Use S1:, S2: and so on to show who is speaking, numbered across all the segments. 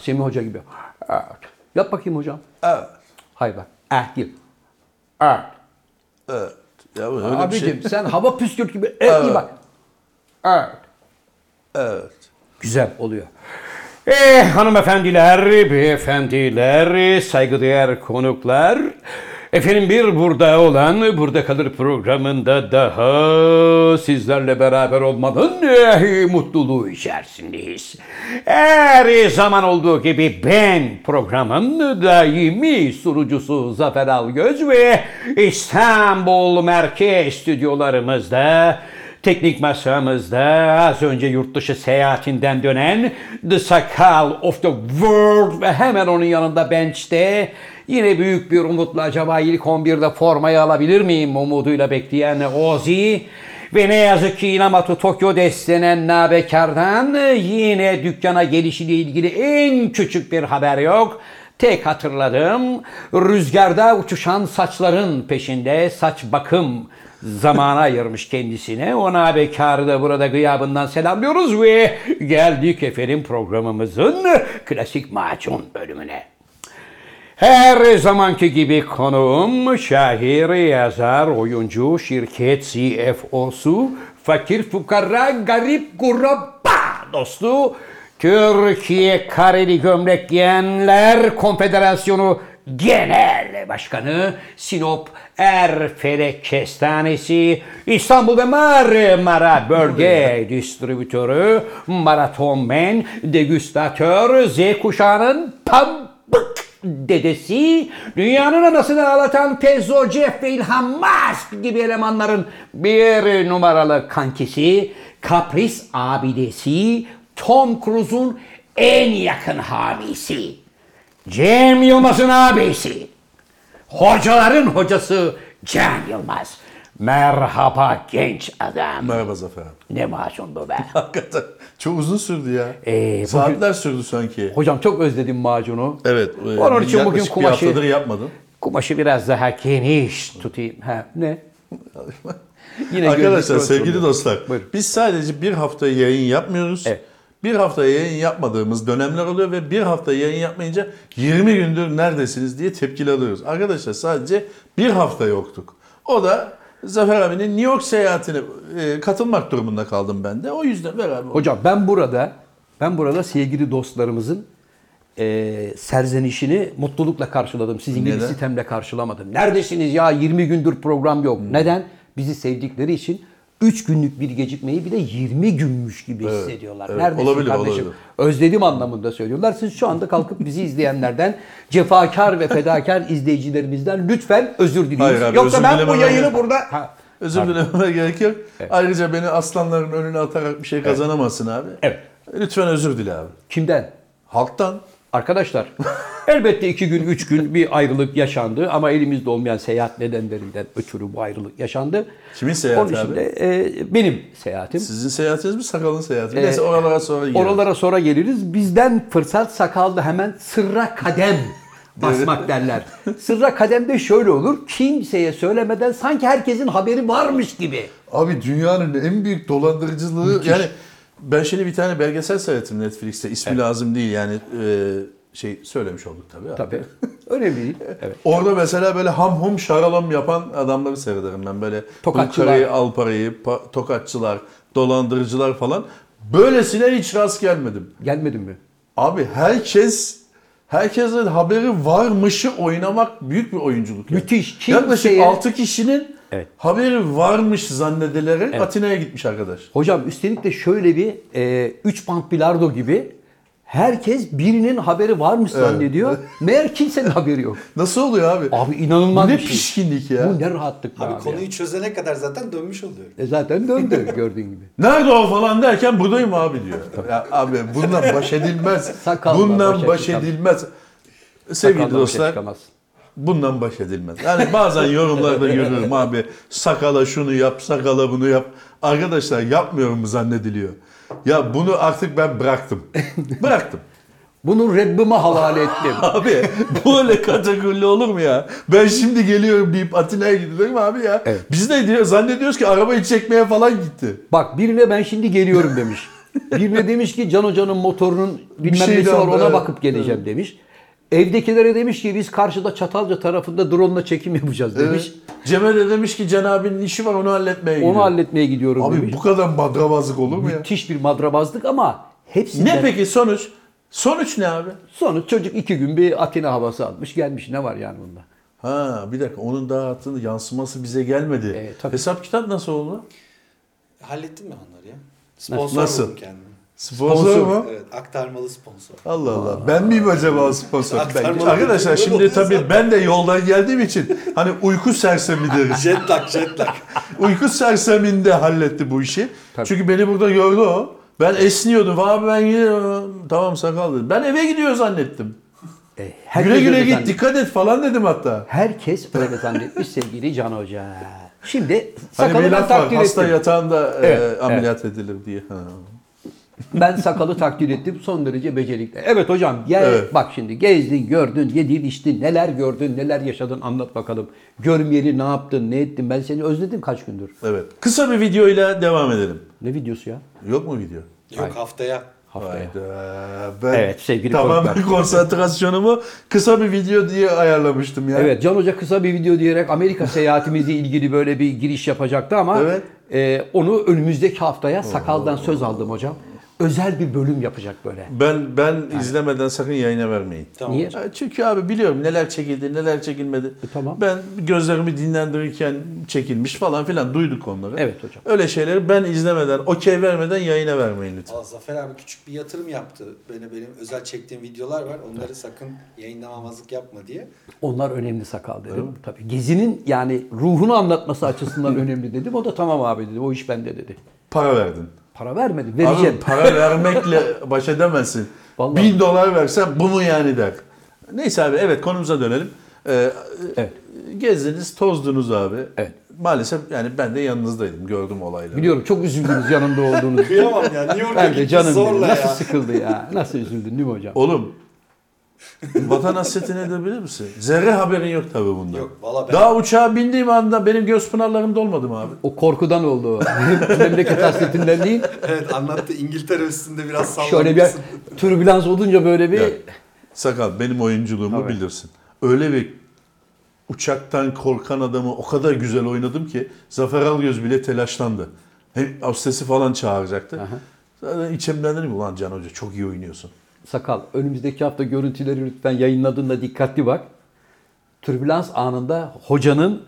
S1: Semih Hoca gibi. Evet. Yap bakayım hocam.
S2: Evet.
S1: Hayır bak. Eh değil. Evet.
S2: Evet. Ya bu öyle bir şey.
S1: Abicim sen hava püskürt gibi eh değil bak. Evet.
S2: Evet.
S1: Güzel oluyor. Eh hanımefendiler, beyefendiler, saygıdeğer konuklar. Efendim bir burada olan Burada Kalır programında daha sizlerle beraber olmanın eh, mutluluğu içerisindeyiz. Her zaman olduğu gibi ben programın daimi sunucusu Zafer Algöz ve İstanbul Merkez stüdyolarımızda Teknik masamızda az önce yurt dışı seyahatinden dönen The Sakal of the World ve hemen onun yanında bench'te yine büyük bir umutla acaba ilk 11'de formayı alabilir miyim umuduyla bekleyen Ozi ve ne yazık ki Inamatu Tokyo destenen nabekardan yine dükkana gelişiyle ilgili en küçük bir haber yok. Tek hatırladığım rüzgarda uçuşan saçların peşinde saç bakım zamana ayırmış kendisine. Ona bekarı da burada gıyabından selamlıyoruz ve geldik efendim programımızın klasik macun bölümüne. Her zamanki gibi konuğum şair, yazar, oyuncu, şirket CFO'su, fakir, fukara, garip, kurabba dostu, Türkiye Kareli Gömlek Giyenler Konfederasyonu Genel Başkanı, Sinop Erfelek Kestanesi, İstanbul ve Marmara Bölge Distribütörü, Maraton Men, Degüstatör, Z kuşağının pambık dedesi, dünyanın anasını ağlatan Tezo Jeff ve İlhan Musk gibi elemanların bir numaralı kankisi, kapris abidesi, Tom Cruise'un en yakın hamisi, Cem Yılmaz'ın abisi, hocaların hocası Cem Yılmaz. Merhaba genç adam.
S2: Merhaba Zafer abi.
S1: Ne masum bu be.
S2: Hakikaten çok uzun sürdü ya.
S1: Ee, bugün-
S2: Saatler sürdü sanki.
S1: Hocam çok özledim macunu.
S2: Evet. e,
S1: Onun için bugün
S2: yaklaşık
S1: kumaşı-
S2: Bir haftadır yapmadın.
S1: Kumaşı biraz daha geniş tutayım. Ha, E ne? Yine
S2: Arkadaşlar
S1: gözlük
S2: sevgili
S1: kontrolü.
S2: dostlar
S1: Buyurun.
S2: biz sadece bir hafta yayın yapmıyoruz.
S1: Evet.
S2: Bir hafta yayın yapmadığımız dönemler oluyor ve bir hafta yayın yapmayınca 20 gündür neredesiniz diye tepkili alıyoruz. Arkadaşlar sadece bir hafta yoktuk. O da Zafer abinin New York seyahatine e, katılmak durumunda kaldım ben de. O yüzden beraber
S1: Hocam ben burada ben burada sevgili dostlarımızın eee, serzenişini mutlulukla karşıladım. Sizin gibi
S2: Neden?
S1: sitemle karşılamadım. Neredesiniz ya 20 gündür program yok.
S2: Hmm.
S1: Neden? Bizi sevdikleri için 3 günlük bir gecikmeyi bir de 20 günmüş gibi hissediyorlar.
S2: evet.
S1: Neredesin
S2: Olabilir,
S1: kardeşim?
S2: olabilir.
S1: Özledim anlamında söylüyorlar. Siz şu anda kalkıp bizi izleyenlerden cefakar ve fedakar izleyicilerimizden lütfen özür diliyoruz.
S2: Hayır abi,
S1: Yoksa
S2: özür
S1: ben bu
S2: dilemem
S1: yayını
S2: yani.
S1: burada... Ha,
S2: Özür dilememe gerek yok. Ayrıca beni aslanların önüne atarak bir şey kazanamazsın abi.
S1: Evet.
S2: Lütfen özür dile abi.
S1: kimden?
S2: Halktan.
S1: Arkadaşlar elbette iki gün üç gün bir ayrılık yaşandı ama elimizde olmayan seyahat nedenlerinden ötürü bu ayrılık yaşandı.
S2: Kimin seyahati
S1: Onun için
S2: abi?
S1: de e, benim seyahatim.
S2: Sizin seyahatiniz mi sakalın seyahati mi?
S1: Ee,
S2: Neyse oralara sonra girelim.
S1: Oralara sonra geliriz. Bizden fırsat sakallı hemen sırra kadem basmak derler. Sırra kadem de şöyle olur. Kimseye söylemeden sanki herkesin haberi varmış gibi.
S2: Abi dünyanın en büyük dolandırıcılığı yani ben şimdi bir tane belgesel seyrettim Netflix'te ismi lazım değil yani e, şey söylemiş olduk tabii. abi.
S1: Tabii. Önemli değil. Evet.
S2: Orada mesela böyle ham hum şaralam yapan adamları seyrederim ben böyle.
S1: Tokatçılar.
S2: Dul karayı, al parayı, pa- tokatçılar, dolandırıcılar falan. Böylesine hiç rast gelmedim.
S1: Gelmedin mi?
S2: Abi herkes herkesin haberi varmışı oynamak büyük bir oyunculuk. yani.
S1: Müthiş. Kimseye-
S2: Yaklaşık 6 kişinin
S1: Evet.
S2: haberi varmış zannedilerek Atina'ya gitmiş arkadaş.
S1: Hocam üstelik de şöyle bir 3 band bilardo gibi herkes birinin haberi varmış zannediyor. Meğer kimsenin haberi yok.
S2: Nasıl oluyor abi?
S1: Abi inanılmaz
S2: ne
S1: bir şey.
S2: pişkinlik ya.
S1: Bu ne rahatlık be
S3: Abi
S1: abi. ya.
S3: konuyu çözene kadar zaten dönmüş oluyor.
S1: E zaten döndü gördüğün gibi.
S2: Nerede o falan derken buradayım abi diyor. ya abi bundan baş edilmez.
S1: Sakalla
S2: bundan
S1: başa
S2: baş,
S1: çıkamaz.
S2: edilmez. Sevgili
S1: Sakaldan bir şey
S2: dostlar
S1: çıkamaz.
S2: bundan baş edilmez. Yani bazen yorumlarda görüyorum abi sakala şunu yap, sakala bunu yap. Arkadaşlar yapmıyorum zannediliyor. Ya bunu artık ben bıraktım. Bıraktım.
S1: Bunu Rabbime havale ettim.
S2: Abi böyle katakulli olur mu ya? Ben şimdi geliyorum deyip Atina'ya gidiyorum abi ya.
S1: Evet.
S2: Biz de diyor, zannediyoruz ki arabayı çekmeye falan gitti.
S1: Bak birine ben şimdi geliyorum demiş. Birine demiş ki Can Hoca'nın motorunun bilmem
S2: şey
S1: nesi var
S2: daha,
S1: ona
S2: evet.
S1: bakıp geleceğim demiş. Evdekilere demiş ki biz karşıda Çatalca tarafında drone çekim yapacağız demiş.
S2: Cem'e de demiş ki Can abinin işi var onu halletmeye gidiyor.
S1: Onu halletmeye gidiyorum
S2: Abi
S1: demiş.
S2: bu kadar madrabazlık olur mu ya?
S1: Müthiş bir madrabazlık ama hepsinden
S2: Ne peki sonuç? Sonuç ne abi?
S1: sonuç çocuk iki gün bir Atina havası atmış gelmiş ne var yani bunda?
S2: Ha bir dakika onun daha hattının yansıması bize gelmedi.
S1: E, tabii.
S2: Hesap kitap nasıl oldu?
S3: Hallettim ben onları ya. Sponsor
S2: Nasıl?
S3: buldum kendime.
S2: Sponsor, mu?
S3: Evet, aktarmalı sponsor.
S2: Allah Allah. şey Ben miyim acaba sponsor?
S3: Aktarmalı
S2: Bence.
S3: bir
S2: Arkadaşlar
S3: durum
S2: şimdi
S3: oluyor
S2: tabii
S3: zaten.
S2: ben de yoldan geldiğim için hani uyku sersemi deriz.
S3: Jetlag, jetlag.
S2: uyku serseminde halletti bu işi. Çünkü beni burada gördü o. Ben esniyordum. Abi ben gidiyorum. Tamam sakal dedi. Ben eve gidiyor zannettim.
S1: E,
S2: güle
S1: herkes
S2: güle
S1: öyle
S2: git
S1: zannet-
S2: dikkat et falan dedim hatta. Hani
S1: Herkes öyle zannetmiş sevgili Can Hoca. Şimdi
S2: Hani
S1: sakalı ben
S2: bir laf var
S1: takdir
S2: hasta
S1: ettim.
S2: yatağında e,
S1: Evet,
S2: ameliyat edilir diye. Ha.
S1: Ben sakalı takdir ettim son derece becerikli. Evet hocam gel
S2: Evet.
S1: bak şimdi gezdin gördün yedin içtin neler gördün neler yaşadın anlat bakalım. Görmeyeli ne yaptın ne ettin ben seni özledim kaç gündür.
S2: Evet. Kısa bir videoyla devam edelim.
S1: Ne videosu ya
S2: Yok mu video?
S1: Hayır.
S3: Yok haftaya.
S1: haftaya.
S2: Hayda, Ben
S1: Evet, sevgili
S2: tamamen
S1: konuklar.
S2: konsantrasyonumu kısa bir video diye ayarlamıştım ya.
S1: Evet Can Hoca kısa bir video diyerek Amerika seyahatimizle ilgili böyle bir giriş yapacaktı ama
S2: Evet.
S1: e, onu önümüzdeki haftaya sakaldan söz aldım hocam. Özel bir bölüm yapacak böyle.
S2: Ben ben izlemeden sakın yayına vermeyin.
S3: Tamam.
S1: Niye?
S2: Ya Çünkü abi biliyorum neler çekildi, neler çekilmedi.
S1: E, tamam.
S2: Ben gözlerimi dinlendirirken çekilmiş falan filan duyduk onları.
S1: Evet hocam.
S2: Öyle şeyleri ben izlemeden, okey vermeden yayına vermeyin lütfen.
S3: Aa, Zafer abi küçük bir yatırım yaptı. Böyle benim özel çektiğim videolar var. Onları sakın yayınlamamazlık yapma diye.
S1: Onlar önemli sakal dedim. Tabii gezinin yani ruhunu anlatması açısından önemli dedim. O da tamam abi dedi. O iş bende dedi.
S2: Para verdin.
S1: Para vermedi.
S2: Abi
S1: Vereceğim.
S2: para vermekle baş edemezsin.
S1: Vallahi.
S2: Bin dolar versen bunu yani der. Neyse abi evet konumuza dönelim. Ee,
S1: Evet.
S2: Gezdiniz, tozdunuz abi.
S1: Evet.
S2: Maalesef yani ben de yanınızdaydım, gördüm olayları.
S1: Biliyorum çok üzüldünüz yanımda olduğunuz.
S3: Kıyamam ya. New York'a
S1: ben de
S3: gitti
S1: canım benim.
S3: zorla
S1: Nasıl
S3: ya.
S1: sıkıldı ya? Nasıl üzüldün değil mi hocam?
S2: Oğlum vatan hasretini edebilir misin? Zerre haberin yok tabii bunda.
S3: Yok, valla ben-
S2: Daha uçağa bindiğim anda benim göz pınarlarım dolmadı mı abi?
S1: O korkudan oldu. o. Memleket hasretinden değil.
S3: Evet anlattı. İngiltere üstünde biraz sallanmışsın.
S1: Şöyle bir türbülans olunca böyle bir...
S2: Ya, sakal benim oyunculuğumu
S1: Tabii.
S2: bilirsin. Öyle bir uçaktan korkan adamı o kadar güzel oynadım ki Zafer Algöz bile telaşlandı. Hem abstesi falan çağıracaktı. Zaten içimden dedim ulan Can Hoca çok iyi oynuyorsun.
S1: Sakal önümüzdeki hafta görüntüleri lütfen yayınladığında dikkatli bak. Türbülans anında hocanın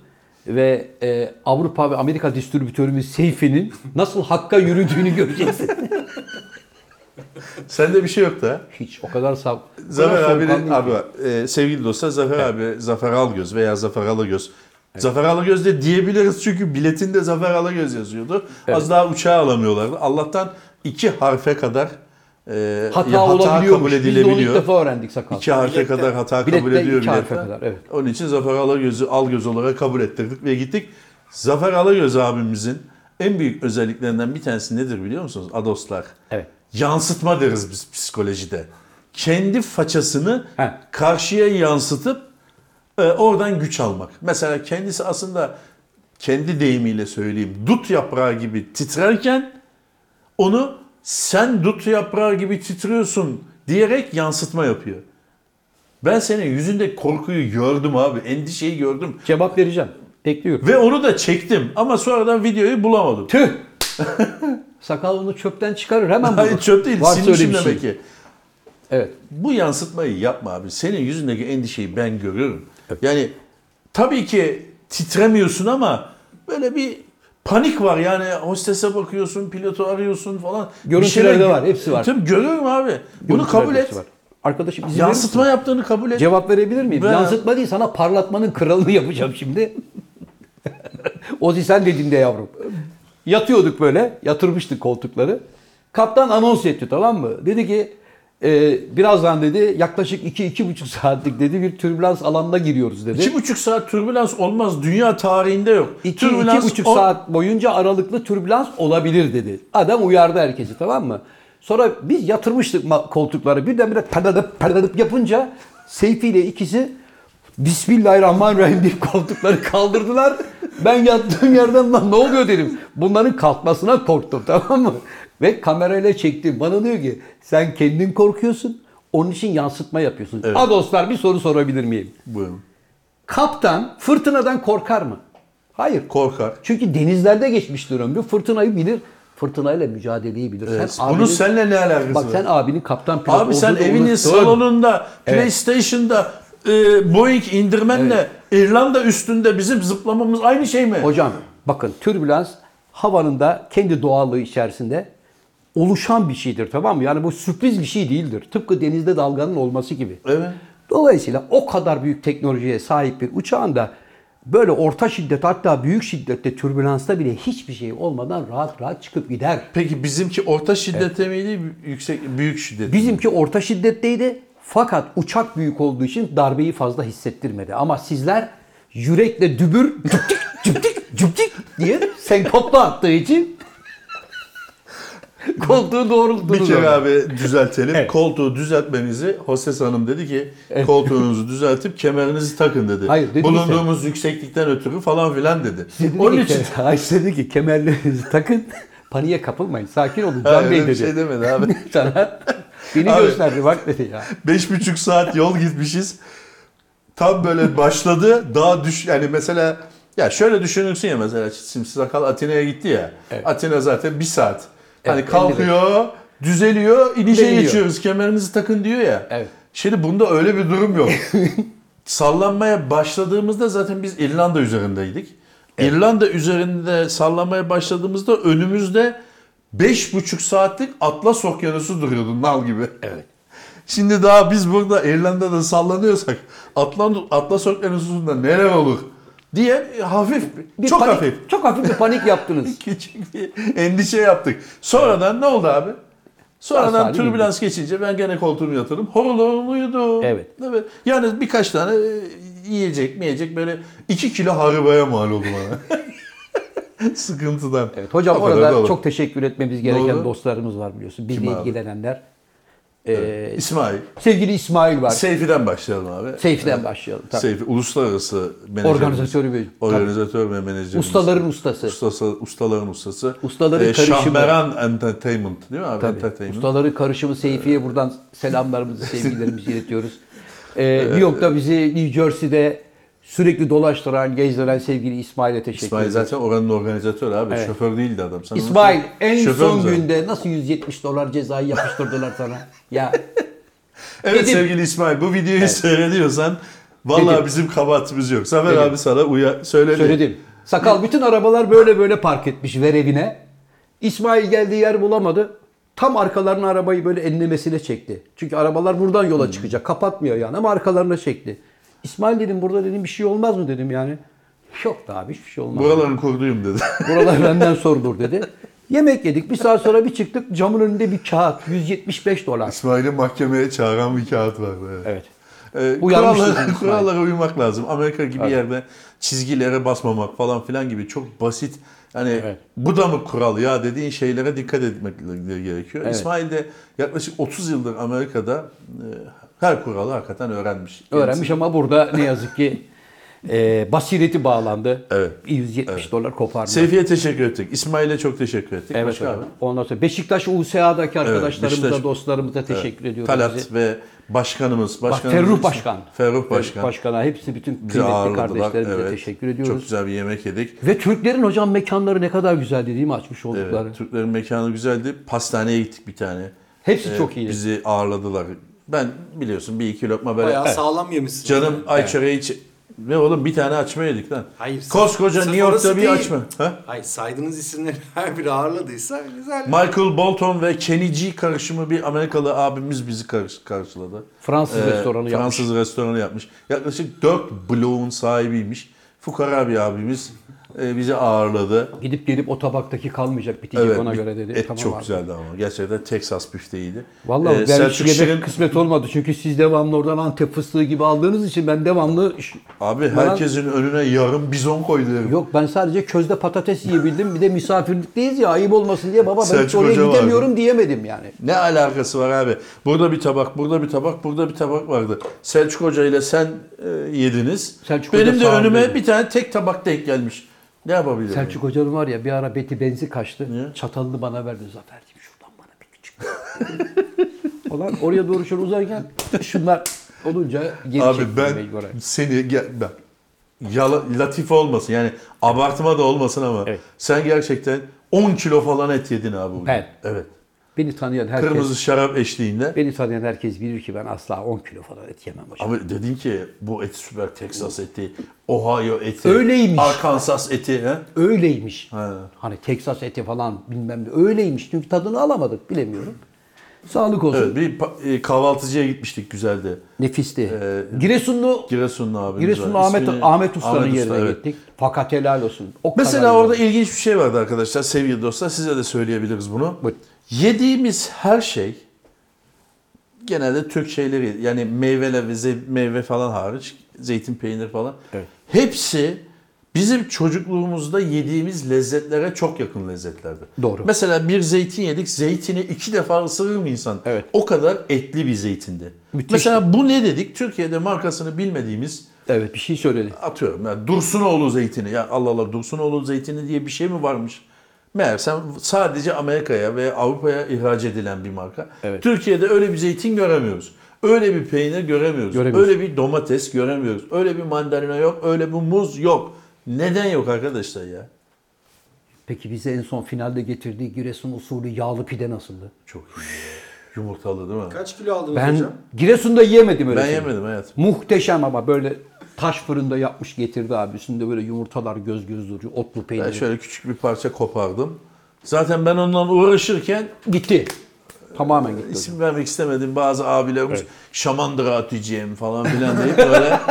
S1: ve e, Avrupa ve Amerika distribütörümüz Seyfi'nin nasıl hakka yürüdüğünü göreceksin.
S2: Sende bir şey yok da.
S1: Hiç o kadar sav.
S2: Zafer abinin
S1: abi.
S2: abi e, sevgili dostlar Zafer abi Zafer Algöz veya Zafer Alagöz. Zafer Alagöz de diyebiliriz çünkü biletinde Zafer Alagöz yazıyordu. Az daha uçağa alamıyorlardı. Allah'tan iki harfe kadar e,
S1: Hata,
S2: ya
S1: olabiliyormuş. Biz
S2: kabul
S1: de onu ilk
S2: edilebiliyor.
S1: defa öğrendik sakal.
S2: İki harfe
S3: Bilette-
S2: kadar hata
S1: Bilette
S2: kabul ediyor
S1: iki harfe
S2: biletler.
S1: kadar, evet.
S2: Onun için Zafer Alagöz'ü Algöz olarak kabul ettirdik ve gittik. Zafer Alagöz abimizin en büyük özelliklerinden bir tanesi nedir biliyor musunuz? Adoslar.
S1: Evet.
S2: Yansıtma deriz biz psikolojide. Kendi façasını
S1: Heh.
S2: karşıya yansıtıp e, oradan güç almak. Mesela kendisi aslında kendi deyimiyle söyleyeyim dut yaprağı gibi titrerken onu sen dut yaprağı gibi titriyorsun diyerek yansıtma yapıyor. Ben senin yüzündeki korkuyu gördüm abi. Endişeyi gördüm.
S1: Cevap vereceğim. Bekliyorum.
S2: Ve onu da çektim ama sonradan videoyu bulamadım.
S1: Tüh! sakal onu çöpten çıkarır hemen bulur.
S2: Hayır çöp değil.
S1: Varsa öyle
S2: Silmişim
S1: bir şey.
S2: demek ki.
S1: Evet.
S2: Bu yansıtmayı yapma abi. Senin yüzündeki endişeyi ben görüyorum. Yani tabii ki titremiyorsun ama böyle bir panik var. Yani hostese bakıyorsun, pilotu arıyorsun falan. Bir
S1: Görüntülerde
S2: şeyler-
S1: var, hepsi var.
S2: Tabii görüyorum abi. Bunu
S1: Görüntüler
S2: kabul
S1: hepsi
S2: et.
S1: var. Arkadaşım izin verir
S2: Yansıtma
S1: misin?
S2: yaptığını kabul et.
S1: Cevap verebilir miyim?
S2: Ben-
S1: Yansıtma değil sana parlatmanın kralını yapacağım şimdi. Ozi sen de dinle yavrum. Yatıyorduk böyle. Yatırmıştık koltukları. Kaptan anons etti tamam mı? Dedi ki e, birazdan dedi yaklaşık 2-2,5 saatlik dedi bir türbülans alanına giriyoruz dedi.
S2: İki buçuk saat türbülans olmaz. Dünya tarihinde yok.
S1: 2
S2: Türbülans
S1: buçuk
S2: on-
S1: saat boyunca aralıklı türbülans olabilir dedi. Adam uyardı herkesi tamam mı? Sonra biz yatırmıştık ma- koltukları birdenbire perdadıp perdadıp yapınca Seyfi ile ikisi Bismillahirrahmanirrahim deyip koltukları kaldırdılar. Ben yattığım yerden lan ne oluyor dedim. Bunların kalkmasına korktum tamam mı? Ve kamerayla çektim. Bana diyor ki sen kendin korkuyorsun. Onun için yansıtma yapıyorsun.
S2: Evet.
S1: A dostlar bir soru sorabilir miyim?
S2: Buyurun.
S1: Kaptan fırtınadan korkar mı? Hayır.
S2: Korkar.
S1: Çünkü denizlerde geçmiştir ömrü. Fırtınayı bilir. Fırtınayla mücadeleyi bilir.
S2: Evet,
S1: Sen
S2: bunun
S1: abinin-
S2: seninle ne alakası
S1: Bak
S2: var?
S1: sen abinin kaptan pilot
S2: Abi sen
S1: olduğunu
S2: evinin
S1: unuttun.
S2: salonunda,
S1: Evet.
S2: PlayStation'da, e, Boeing indirmenle İrlanda üstünde bizim zıplamamız aynı şey mi?
S1: Hocam bakın türbülans havanın da kendi doğallığı içerisinde oluşan bir şeydir tamam mı? Yani bu sürpriz bir şey değildir. Tıpkı denizde dalganın olması gibi.
S2: Evet.
S1: Dolayısıyla o kadar büyük teknolojiye sahip bir uçağın da böyle orta şiddet hatta büyük şiddette türbülansta bile hiçbir şey olmadan rahat rahat çıkıp gider.
S2: Peki bizimki orta şiddete miydi, yüksek, büyük şiddet?
S1: Bizimki orta şiddetteydi. Fakat uçak büyük olduğu için darbeyi fazla hissettirmedi. Ama sizler yürekle dübür cüptik cüptik cüptik diye senkopla attığı için koltuğu doğrulttunuz.
S2: Bir kere
S1: orada.
S2: abi düzeltelim.
S1: Evet.
S2: Koltuğu düzeltmenizi hostes hanım dedi ki koltuğunuzu düzeltip kemerinizi takın dedi.
S1: Hayır, dedi ki-
S2: Bulunduğumuz yükseklikten ötürü falan filan dedi.
S1: Dedi ki,
S2: Onun için
S1: Ayşe dedi ki kemerlerinizi takın. Paniğe kapılmayın. Sakin olun.
S2: Ha,
S1: Can
S2: öyle
S1: Bey
S2: bir
S1: dedi.
S2: şey demedi abi.
S1: Sana beni
S2: Abi.
S1: gösterdi bak dedi ya.
S2: Beş buçuk saat yol gitmişiz. Tam böyle başladı. Daha düş yani mesela ya şöyle düşünürsün ya mesela şimdi Sakal Atina'ya gitti ya. Atina zaten bir saat. Hani
S1: Evet,
S2: kalkıyor, düzeliyor, inişe
S1: Deniliyor.
S2: geçiyoruz. Kemerinizi takın diyor ya.
S1: Evet.
S2: Şimdi bunda öyle bir durum yok. sallanmaya başladığımızda zaten biz İrlanda üzerindeydik. İrlanda üzerinde sallanmaya başladığımızda önümüzde 5,5 saatlik Atlas Okyanusu duruyordu nal gibi. Evet. Şimdi daha biz burada İrlanda'da sallanıyorsak Atlant Atlas Okyanusu'nda neler olur diye hafif,
S1: Bir
S2: çok
S1: panik-
S2: hafif
S1: Çok hafif bir panik yaptınız.
S2: küçük bir endişe yaptık. Sonradan ne oldu abi?
S1: Sağ
S2: Sonradan
S1: salim
S2: türbülans geçince ben gene koltuğumu yatırdım. Horul horul uyudu.
S1: Evet.
S2: Evet. Yani birkaç tane e, yiyecek mi yiyecek böyle 2 kilo haribaya mal oldu bana. Sıkıntıdan.
S1: Evet hocam
S2: O kadar da
S1: orada
S2: olur.
S1: çok teşekkür etmemiz gereken
S2: Doğru.
S1: dostlarımız var biliyorsun. Bizle
S2: Kim abi?
S1: ilgilenenler. Ee,
S2: İsmail,
S1: Sevgili İsmail var.
S2: Seyfi'den başlayalım abi.
S1: Seyfi'den
S2: Evet.
S1: başlayalım, tabii.
S2: Seyfi, uluslararası menajerimiz.
S1: Organizatörü bir-
S2: Organizatör ve menajerimiz.
S1: Ustaların ustası.
S2: Ustası, ustaların ustası.
S1: Ustaların
S2: Ee,
S1: karışımı.
S2: Şahmeran Entertainment değil mi abi?
S1: Tabii.
S2: Entertainment.
S1: Ustaları karışımı Seyfi'ye buradan selamlarımızı, sevgilerimizi iletiyoruz. Ee, New York'ta bizi New Jersey'de sürekli dolaştıran, gezdiren sevgili İsmail'e teşekkür
S2: İsmail
S1: ederiz.
S2: zaten oranın organizatörü abi.
S1: Evet.
S2: Şoför değildi adam. Sen
S1: İsmail
S2: onu-
S1: en
S2: Şoför
S1: son
S2: mü sen?
S1: günde nasıl 170 dolar cezayı yapıştırdılar sana? ya
S2: Evet
S1: Dedim.
S2: sevgili İsmail bu videoyu seyrediyorsan vallahi
S1: Dedim.
S2: bizim kabahatimiz yok. Zafer
S1: Dedim.
S2: abi sana uya söyledi.
S1: Söyledim. Sakal bütün arabalar böyle böyle park etmiş ver evine. İsmail geldiği yer bulamadı. Tam arkalarına arabayı böyle enlemesine çekti. Çünkü arabalar buradan yola çıkacak. Kapatmıyor yani ama arkalarına çekti. İsmail dedim burada dedim bir şey olmaz mı dedim yani. Yok da abi hiçbir şey olmaz.
S2: Buraların kurduyum dedi.
S1: Buralar benden sorulur dedi. Yemek yedik. Bir saat sonra bir çıktık. Camın önünde bir kağıt. 175 dolar.
S2: İsmail'i mahkemeye çağıran bir kağıt vardı.
S1: Evet.
S2: Ee,
S1: Uyanmıştır
S2: kurallara,
S1: İsmail.
S2: kurallara uymak lazım. Amerika gibi yerde çizgilere basmamak falan filan gibi çok basit hani
S1: Evet.
S2: bu da mı kural ya dediğin şeylere dikkat etmek gerekiyor. İsmail de yaklaşık 30 yıldır Amerika'da e, her kuralı hakikaten öğrenmiş.
S1: Öğrenmiş ama burada ne yazık ki e, basireti bağlandı.
S2: Evet.
S1: 170 dolar kopardı.
S2: Seyfi'ye teşekkür ettik. İsmail'e çok teşekkür ettik.
S1: Evet
S2: Başka
S1: hocam.
S2: abi?
S1: Ondan sonra Beşiktaş USA'daki arkadaşlarımıza,
S2: Beşiktaş-
S1: dostlarımıza teşekkür ediyoruz.
S2: Talat
S1: bizi.
S2: ve başkanımız. başkanımız
S1: Ferruh Başkan.
S2: Ferruh Başkan.
S1: Başkana hepsi bütün
S2: Bizi
S1: kıymetli
S2: ağırladılar.
S1: kardeşlerimize
S2: Evet.
S1: teşekkür
S2: Çok
S1: ediyoruz.
S2: güzel bir yemek yedik.
S1: Ve Türklerin hocam mekanları ne kadar güzel değil mi açmış
S2: Evet,
S1: oldukları.
S2: Ee, Türklerin mekanı güzeldi. Pastaneye gittik bir tane.
S1: Hepsi
S2: Ee,
S1: çok iyiydi.
S2: Bizi ağırladılar. Ben biliyorsun bir iki lokma böyle
S3: Bayağı
S2: "Eh,
S3: sağlam yemişsin.
S2: canım ayçiçeği iç. Ve oğlum bir tane açma yedik lan.
S3: Hayır,
S2: Koskoca
S3: sırf
S2: New York'ta
S3: orası
S2: bir
S3: değil.
S2: açma. Ha?
S3: Hayır saydığınız isimleri her biri ağırladıysa güzel.
S2: Michael Bolton ve Kenny G karışımı bir Amerikalı abimiz bizi karış- karşıladı.
S1: Fransız
S2: Ee,
S1: restoranı yapmış.
S2: Fransız restoranı yapmış. Yaklaşık 4 bloğun sahibiymiş. Fukara bir abimiz. e, bizi ağırladı.
S1: Gidip gelip o tabaktaki kalmayacak bitecek
S2: Evet,
S1: ona
S2: bir-
S1: göre dedi.
S2: Et
S1: Tamam
S2: çok
S1: abi.
S2: güzeldi ama. Gerçekten Texas büfteğiydi.
S1: Vallahi
S2: Ee,
S1: ben
S2: Selçuk
S1: hiç yemek
S2: Şirin-
S1: kısmet olmadı. Çünkü siz devamlı oradan Antep fıstığı gibi aldığınız için ben devamlı iş-
S2: Abi herkesin önüne yarım bizon koydu. herif.
S1: Yok ben sadece közde patates yiyebildim. Bir de misafirlikteyiz ya ayıp olmasın diye baba ben hiç
S2: Selçuk
S1: oraya
S2: Hoca vardı.
S1: gidemiyorum diyemedim yani.
S2: Ne alakası var abi? Burada bir tabak, burada bir tabak, burada bir tabak vardı. Selçuk Hoca ile sen e, yediniz.
S1: Selçuk
S2: Benim
S1: Hoca
S2: de
S1: sağ
S2: önüme
S1: olun.
S2: bir tane tek tabak denk gelmiş. Ne yapabilirim?
S1: Selçuk Hoca'nın var ya bir ara beti benzi kaçtı.
S2: Niye?
S1: Çatalını bana verdi. Zafer'cim şuradan bana bir küçük. Falan oraya doğru şöyle uzarken şunlar olunca geri
S2: Abi
S1: çektim
S2: ben
S1: mecburen.
S2: seni gel ben yala, latife olmasın yani abartma da olmasın ama
S1: Evet.
S2: sen gerçekten 10 kilo falan et yedin abi bugün.
S1: Ben.
S2: Evet.
S1: Beni tanıyan herkes
S2: Kırmızı şarap eşliğinde.
S1: beni tanıyan herkes bilir ki ben asla 10 kilo falan et yemem hocam.
S2: Abi dedin ki bu et süper Texas eti, Ohio eti,
S1: Öyleymiş.
S2: Arkansas eti. He?
S1: Öyleymiş.
S2: He.
S1: Hani Texas eti falan bilmem ne öyleymiş. Çünkü tadını alamadık bilemiyorum. Sağlık olsun.
S2: Evet, bir pa- e, kahvaltıcıya gitmiştik güzeldi.
S1: Nefisti. Giresunlu
S2: Giresunlu abimiz
S1: Giresunlu
S2: var.
S1: Ahmet
S2: Ee, İsmini-
S1: Ahmet Usta'nın yerine
S2: evet.
S1: gittik. Fakat helal olsun. O kadar
S2: Mesela
S1: güzel.
S2: orada ilginç bir şey vardı arkadaşlar sevgili dostlar size de söyleyebiliriz bunu.
S1: Buyurun.
S2: Yediğimiz her şey genelde Türk şeyleri yani meyveler ve ze- meyve falan hariç zeytin peynir falan
S1: Evet.
S2: hepsi bizim çocukluğumuzda yediğimiz lezzetlere çok yakın lezzetlerdi.
S1: Doğru.
S2: Mesela bir zeytin yedik zeytini iki defa ısırır mı insan?
S1: Evet.
S2: O kadar etli bir zeytindi.
S1: Müthişti.
S2: Mesela bu ne dedik? Türkiye'de markasını bilmediğimiz
S1: evet bir şey söyledi.
S2: atıyorum yani Dursunoğlu zeytini ya Allah Allah Dursunoğlu zeytini diye bir şey mi varmış? Meğersem sadece Amerika'ya ve Avrupa'ya ihraç edilen bir marka.
S1: Evet.
S2: Türkiye'de öyle bir zeytin göremiyoruz. Öyle bir peynir göremiyoruz.
S1: Göremiyoruz.
S2: Öyle bir domates göremiyoruz. Öyle bir mandalina yok. Öyle bir muz yok. Neden yok arkadaşlar ya?
S1: Peki bize en son finalde getirdiği Giresun usulü yağlı pide nasıldı?
S2: Çok iyi. Yumurtalı değil mi?
S3: Kaç kilo aldınız
S1: Ben
S3: hocam?
S1: Giresun'da yiyemedim öyle
S2: ben
S1: şey.
S2: yemedim hayatım.
S1: Muhteşem ama böyle taş fırında yapmış getirdi abi. Üstünde böyle yumurtalar göz göz duruyor. Otlu peynir.
S2: Ben şöyle küçük bir parça kopardım. Zaten ben ondan uğraşırken
S1: Gitti. Tamamen gitti. hocam.
S2: İsim vermek istemedim bazı abilerimiz şamandıra atacağım falan filan deyip böyle.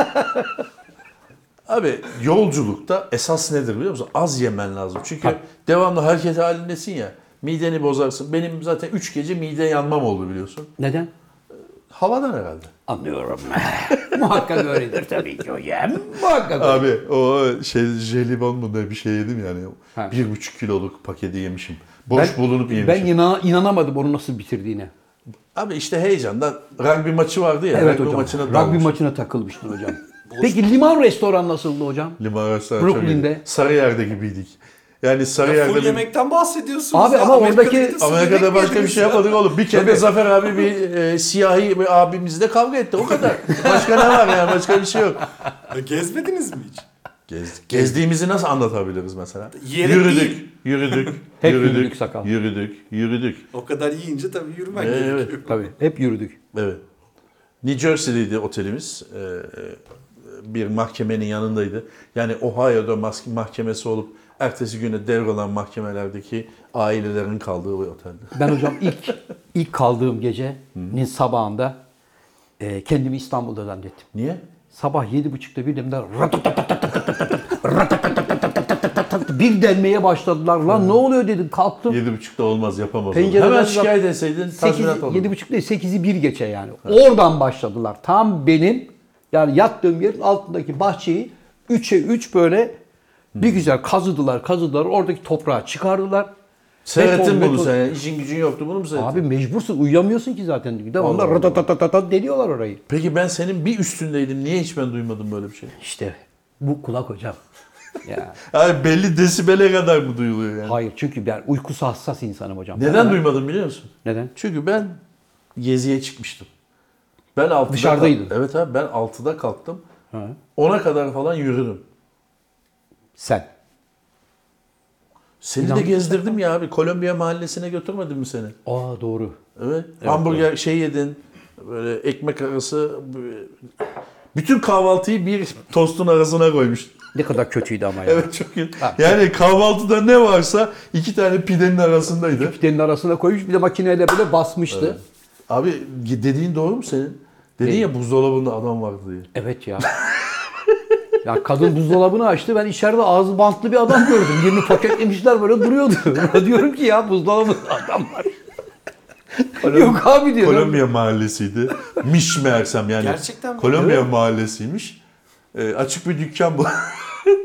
S2: Abi yolculukta esas nedir biliyor musun? Az yemen lazım. Çünkü
S1: Tabii.
S2: devamlı hareket halindesin ya. Mideni bozarsın. Benim zaten 3 gece mide yanmam oldu biliyorsun.
S1: Neden?
S2: Havadan herhalde.
S1: Anlıyorum. Muhakkak öyledir tabii ki hocam. Muhakkak.
S2: Abi o şey jelibon mu ne bir şey yedim yani.
S1: Ha.
S2: Bir buçuk kiloluk paketi yemişim. Boş bulunup yemişim.
S1: Ben inan- inanamadım onu nasıl bitirdiğine.
S2: Abi işte heyecandan rugby maçı vardı ya.
S1: Evet
S2: rugby
S1: hocam.
S2: maçına
S1: Rugby
S2: dalmışım.
S1: maçına takılmıştın hocam. Peki liman restoran nasıldı hocam?
S2: Liman restoranı
S1: Brooklyn'de.
S2: çok iyiydi. Sarıyer'de gibiydik. Yani
S3: Ya full
S2: Sarıyer'de bir...
S3: yemekten bahsediyorsunuz
S1: Abi
S3: ya.
S1: ama
S3: Amerika'da
S1: oradaki-
S3: yediniz, yemek
S2: Amerika'da başka bir
S3: yediniz
S2: şey
S3: ya.
S2: yapmadık oğlum. Bir kere
S1: Tabii.
S2: Zafer abi bir e, siyahi bir abimizle kavga etti. O kadar. Başka ne var yani? Başka bir şey yok.
S3: Ya Gezmediniz mi hiç?
S2: Gezdik. Gezdiğimizi nasıl anlatabiliriz mesela?
S3: Yiyerek
S2: yürüdük,
S3: değil.
S2: yürüdük,
S1: Hep
S2: yürüdük,
S1: yürüdük sakal.
S2: Yürüdük, yürüdük.
S3: O kadar yiyince tabii yürümen
S2: Evet.
S3: gerekiyor.
S1: Tabii. Hep yürüdük.
S2: Evet. New Jersey'deydi otelimiz. Ee, e, bir mahkemenin yanındaydı. Yani Ohio'da mas- mahkemesi olup ertesi güne devrolan mahkemelerdeki ailelerin kaldığı bir otelde.
S1: Ben hocam ilk ilk kaldığım gecenin sabahında e, kendimi İstanbul'da zannettim.
S2: Niye?
S1: Sabah yedi buçukta birden bir denmeye başladılar. Lan ne oluyor dedim kalktım.
S2: Yedi buçukta olmaz yapamaz. onu.
S1: Pencereden
S2: Hemen
S1: bak-
S2: şikayet etseydin tazminat
S1: Sekiz,
S2: olurdu.
S1: yedi buçuk değil, sekizi bir geçe yani. Oradan başladılar. Tam benim yani yattığım yerin altındaki bahçeyi 3'e 3 böyle bir güzel kazıdılar kazıdılar. Oradaki toprağı çıkardılar.
S2: Seyrettin
S1: Beton,
S2: bunu
S1: beton.
S2: sen. yani. İşin gücün yoktu bunu mu seyrettin?
S1: Abi mecbursun uyuyamıyorsun ki zaten. Bir de onlar
S2: Allah Allah.
S1: ratatatatat deliyorlar orayı.
S2: Peki ben senin bir üstündeydim. Niye hiç ben duymadım böyle bir şey?
S1: İşte bu kulak hocam. ya.
S2: Yani belli desibele kadar mı duyuluyor yani?
S1: Hayır çünkü ben uykusu hassas insanım hocam.
S2: Neden
S1: Ben-
S2: duymadım biliyor musun?
S1: Neden?
S2: Çünkü ben geziye çıkmıştım. Ben 6'da
S1: Dışarıdaydın.
S2: Evet abi ben 6'da kalktım.
S1: Ha.
S2: Ona kadar falan yürüdüm.
S1: Sen.
S2: Seni de
S1: İnanmıyorum.
S2: gezdirdim ya abi. Kolombiya mahallesine götürmedim mi seni?
S1: Aa doğru.
S2: Evet. Hamburger şey yedin. Böyle ekmek arası. Bütün kahvaltıyı bir tostun arasına koymuş.
S1: Ne kadar kötüydü ama ya.
S2: Evet çok iyi. Yani kahvaltıda ne varsa iki tane pidenin arasındaydı.
S1: Kütlenin arasına koymuş bir de makineyle böyle basmıştı.
S2: Abi dediğin doğru mu senin? Dedin
S1: Değil.
S2: ya buzdolabında adam vardı diye.
S1: Evet ya. Ya kadın buzdolabını açtı. Ben içeride ağzı bantlı bir adam gördüm. 20 paketlemişler böyle duruyordu. Buna diyorum ki ya buzdolabı adam var. Yok abi diyorum.
S2: Kolombiya mahallesiydi. Miş meğersem yani.
S3: Gerçekten mi?
S2: Kolombiya mahallesiymiş. E, açık bir dükkan bu.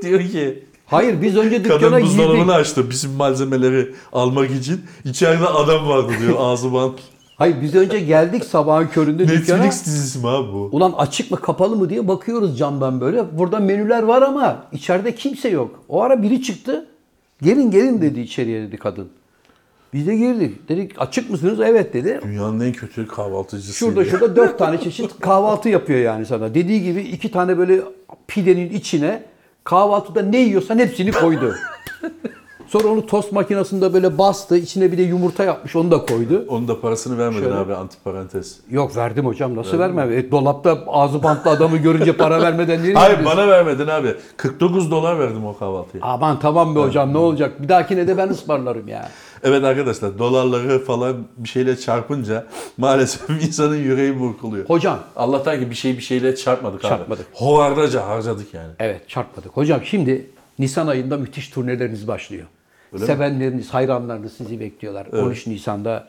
S2: Diyor ki
S1: Hayır biz önce dükkana
S2: kadın
S1: girdik.
S2: buzdolabını açtı bizim malzemeleri almak için. İçeride adam vardı diyor ağzı bant.
S1: Hayır biz önce geldik sabahın köründe dükkana.
S2: Netflix dizisi mi abi bu?
S1: Ulan açık mı kapalı mı diye bakıyoruz camdan böyle. Burada menüler var ama içeride kimse yok. O ara biri çıktı. Gelin gelin dedi içeriye dedi kadın. Biz de girdik. Dedik açık mısınız? Evet dedi.
S2: Dünyanın en kötü kahvaltıcısı.
S1: Şurada şurada dört tane çeşit kahvaltı yapıyor yani sana. Dediği gibi iki tane böyle pidenin içine kahvaltıda ne yiyorsan hepsini koydu. Sonra onu tost makinesinde böyle bastı. İçine bir de yumurta yapmış onu da koydu.
S2: Onun da parasını vermedin
S1: Şöyle.
S2: abi antiparantez.
S1: Yok verdim hocam nasıl vermem? E, dolapta ağzı bantlı adamı görünce para vermeden nereye
S2: Hayır
S1: gidiyorsun?
S2: bana vermedin abi. 49 dolar verdim o kahvaltıya.
S1: Aman tamam be hocam ne olacak? Bir dahakine de ben ısmarlarım ya.
S2: Evet arkadaşlar dolarları falan bir şeyle çarpınca maalesef insanın yüreği burkuluyor.
S1: Hocam.
S2: Allah'tan ki bir şey bir şeyle çarpmadık,
S1: Çarpmadık.
S2: abi. Hovardaca harcadık yani.
S1: Evet çarpmadık. Hocam şimdi Nisan ayında müthiş turneleriniz başlıyor.
S2: Öyle mi?
S1: Sevenleriniz, hayranlarınız sizi bekliyorlar. 13 Nisan'da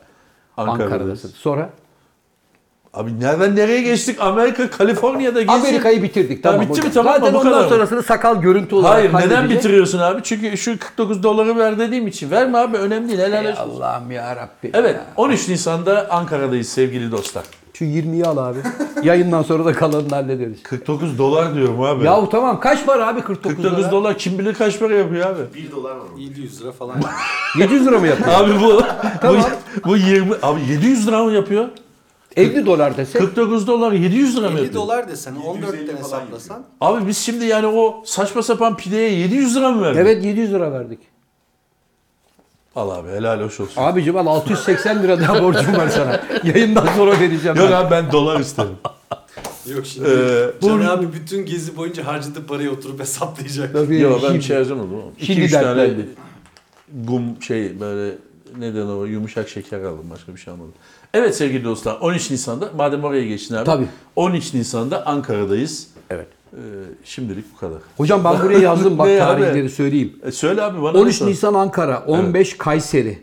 S2: Ankara'dasın.
S1: Ankara'dasın. Sonra
S2: Abi nereden nereye geçtik? Amerika, Kaliforniya'da geçtik.
S1: Amerika'yı bitirdik.
S2: Ya
S1: Tamam
S2: bitti mi?
S1: hocam.
S2: Tamam mı?
S1: Zaten
S2: Bu
S1: ondan
S2: kadar mı?
S1: sonrasını sakal görüntü olarak
S2: Hayır neden
S1: halledecek.
S2: bitiriyorsun abi? Çünkü şu 49 doları ver dediğim için. Verme abi önemli değil. Helal
S1: Ey
S2: olsun.
S1: Allah'ım ya Rabbim.
S2: Evet
S1: ya.
S2: 13 Nisan'da Ankara'dayız sevgili dostlar.
S1: Şu 20'yi al abi. Yayından sonra da kalanını hallederiz.
S2: 49 dolar diyorum abi.
S1: Yahu tamam kaç para abi 49,
S2: 49
S1: lira?
S2: dolar kim bilir kaç para yapıyor abi?
S4: 1 dolar var.
S3: 700 lira falan.
S1: 700 lira mı yapıyor?
S2: Abi bu,
S1: Tamam.
S2: bu, bu 20, abi 700 lira mı yapıyor?
S1: 50 dolar desek.
S2: 49 dolar 700 lira mı
S3: 50
S2: yapıyor?
S3: dolar desen 14'ten
S4: 750 falan
S3: hesaplasan
S2: Abi biz şimdi yani o saçma sapan pideye 700 lira mı verdik?
S1: Evet 700 lira verdik.
S2: Al abi helal hoş olsun.
S1: Abicim al 680 lira daha borcum var sana. Yayından sonra vereceğim.
S2: Yok
S1: ben.
S2: abi ben dolar isterim.
S3: Yok şimdi
S2: Ee,
S3: Can
S2: bu-
S3: abi bütün gezi boyunca harcadığı parayı oturup hesaplayacak.
S1: Tabii,
S2: Yok ben bir
S1: Ee, şimdi-
S2: şey harcamadım. oğlum. İki
S1: Şimdi
S2: üç tane
S1: dertlendi.
S2: gum şey böyle neden o yumuşak şeker aldım başka bir şey almadım. Evet sevgili dostlar 13 Nisan'da madem oraya geçtin abi.
S1: Tabii.
S2: 13 Nisan'da Ankara'dayız.
S1: Evet.
S2: Ee, şimdilik bu kadar.
S1: Hocam ben buraya yazdım bak
S2: Ne abi?
S1: tarihleri söyleyeyim.
S2: E, söyle abi bana.
S1: 13
S2: ne sor-
S1: Nisan Ankara, 15 Kayseri,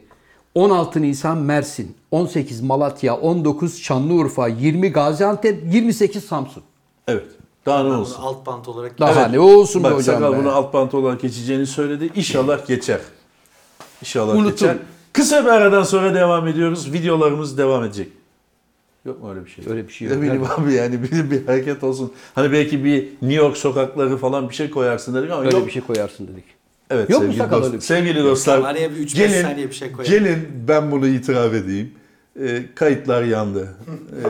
S1: 16 Nisan Mersin, 18 Malatya, 19 Şanlıurfa, 20 Gaziantep, 28 Samsun.
S2: Evet. Daha ne
S3: Bunu
S2: olsun.
S3: alt bant olarak
S1: Daha
S2: Evet.
S1: ne olsun be
S2: Bak
S1: hocam
S2: sakal
S1: be.
S2: bunu alt bant olarak geçeceğini söyledi. İnşallah geçer. İnşallah
S1: Unutun.
S2: geçer. Kısa bir aradan sonra devam ediyoruz. Videolarımız devam edecek. Yok mu öyle bir şey?
S1: Öyle bir şey
S2: Ne
S1: yok.
S2: bileyim abi yani bir, bir hareket olsun. Hani belki bir New York sokakları falan bir şey koyarsın dedik ama
S1: Öyle
S2: yok.
S1: bir şey koyarsın dedik.
S2: Evet
S1: Yok mu
S2: sevgili,
S1: sakal
S2: dost-
S1: öyle bir şey?
S2: sevgili dostlar.
S3: Araya bir 3-5
S2: Gelin,
S3: saniye bir şey koyalım.
S2: gelin ben bunu itiraf edeyim. Ee, kayıtlar yandı. Ee,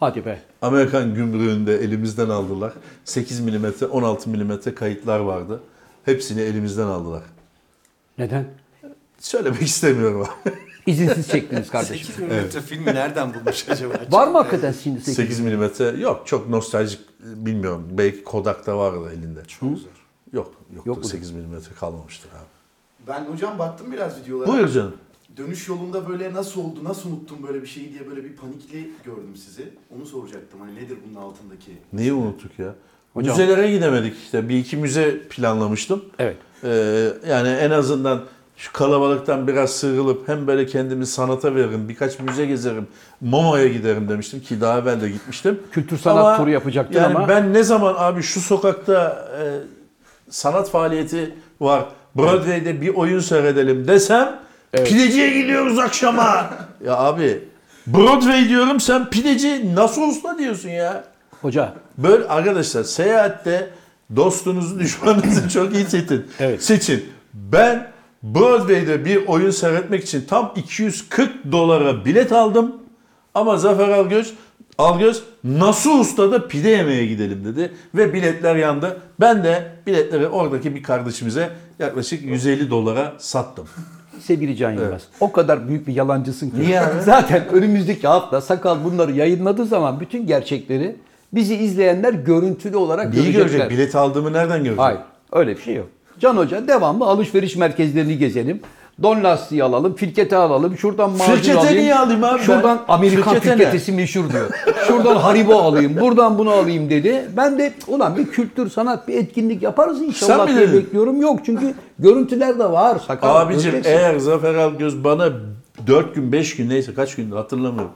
S1: Hadi be.
S2: Amerikan gümrüğünde elimizden aldılar. 8 mm, 16 mm kayıtlar vardı. Hepsini elimizden aldılar.
S1: Neden?
S2: Söylemek istemiyorum abi.
S1: İzinsiz çektiniz kardeşim.
S3: 8 milimetre filmi nereden bulmuş acaba?
S1: Var mı hakikaten şimdi 8?
S2: 8 mm yok çok nostaljik e, bilmiyorum. Belki Kodak'ta vardı elinde. Çok zor. Yok, yok,
S1: Yok mu?
S2: 8 mm kalmamıştır abi.
S4: Ben hocam baktım biraz videolara.
S2: Buyur canım.
S4: Dönüş yolunda böyle nasıl oldu, nasıl unuttum böyle bir şeyi diye böyle bir panikli gördüm sizi. Onu soracaktım hani nedir bunun altındaki?
S2: Neyi unuttuk ya?
S1: Hocam.
S2: Müzelere gidemedik işte. Bir iki müze planlamıştım.
S1: Evet.
S2: Ee, yani en azından şu kalabalıktan biraz sıyrılıp hem böyle kendimi sanata veririm, birkaç müze gezerim, Momo'ya giderim demiştim ki daha evvel de gitmiştim.
S1: Kültür sanat
S2: Ama
S1: turu yapacaktın
S2: yani
S1: ama-
S2: Ben ne zaman abi şu sokakta e, sanat faaliyeti var, Broadway'de bir oyun seyredelim desem pideciye gidiyoruz akşama. ya abi Broadway diyorum sen pideci nasıl usta diyorsun ya.
S1: Hoca
S2: Böyle arkadaşlar seyahatte dostunuzu düşmanınızı çok iyi seçin.
S1: Evet.
S2: Seçin. Ben Broadway'de bir oyun seyretmek için tam 240 dolara bilet aldım. Ama Zafer Algöz, Algöz nasıl ustada pide yemeye gidelim dedi. Ve biletler yandı. Ben de biletleri oradaki bir kardeşimize yaklaşık 150 dolara sattım.
S1: sevgili Can Yılmaz. O kadar büyük bir yalancısın ki.
S2: Niye abi?
S1: Zaten önümüzdeki hafta Sakal bunları yayınladığı zaman bütün gerçekleri bizi izleyenler görüntülü olarak
S2: Neyi
S1: görecekler.
S2: görecek? Bilet aldığımı nereden görecek?
S1: Hayır öyle bir şey yok. Can Hoca devamlı alışveriş merkezlerini gezelim. Don lastiği alalım, firkete alalım, şuradan macun
S2: Firkete
S1: alayım.
S2: niye alayım abi ben?
S1: Şuradan Amerikan
S2: Firkete ne?
S1: firketesi meşhur diyor. Şuradan haribo alayım, buradan bunu alayım dedi. Ben de ulan bir kültür, sanat, bir etkinlik yaparız inşallah
S2: mi
S1: diye
S2: dedin?
S1: bekliyorum. Yok çünkü görüntüler de var. Sakal,
S2: Abicim
S1: göreceksin.
S2: eğer Zafer Algöz bana 4 gün 5 gün neyse kaç gündü hatırlamıyorum.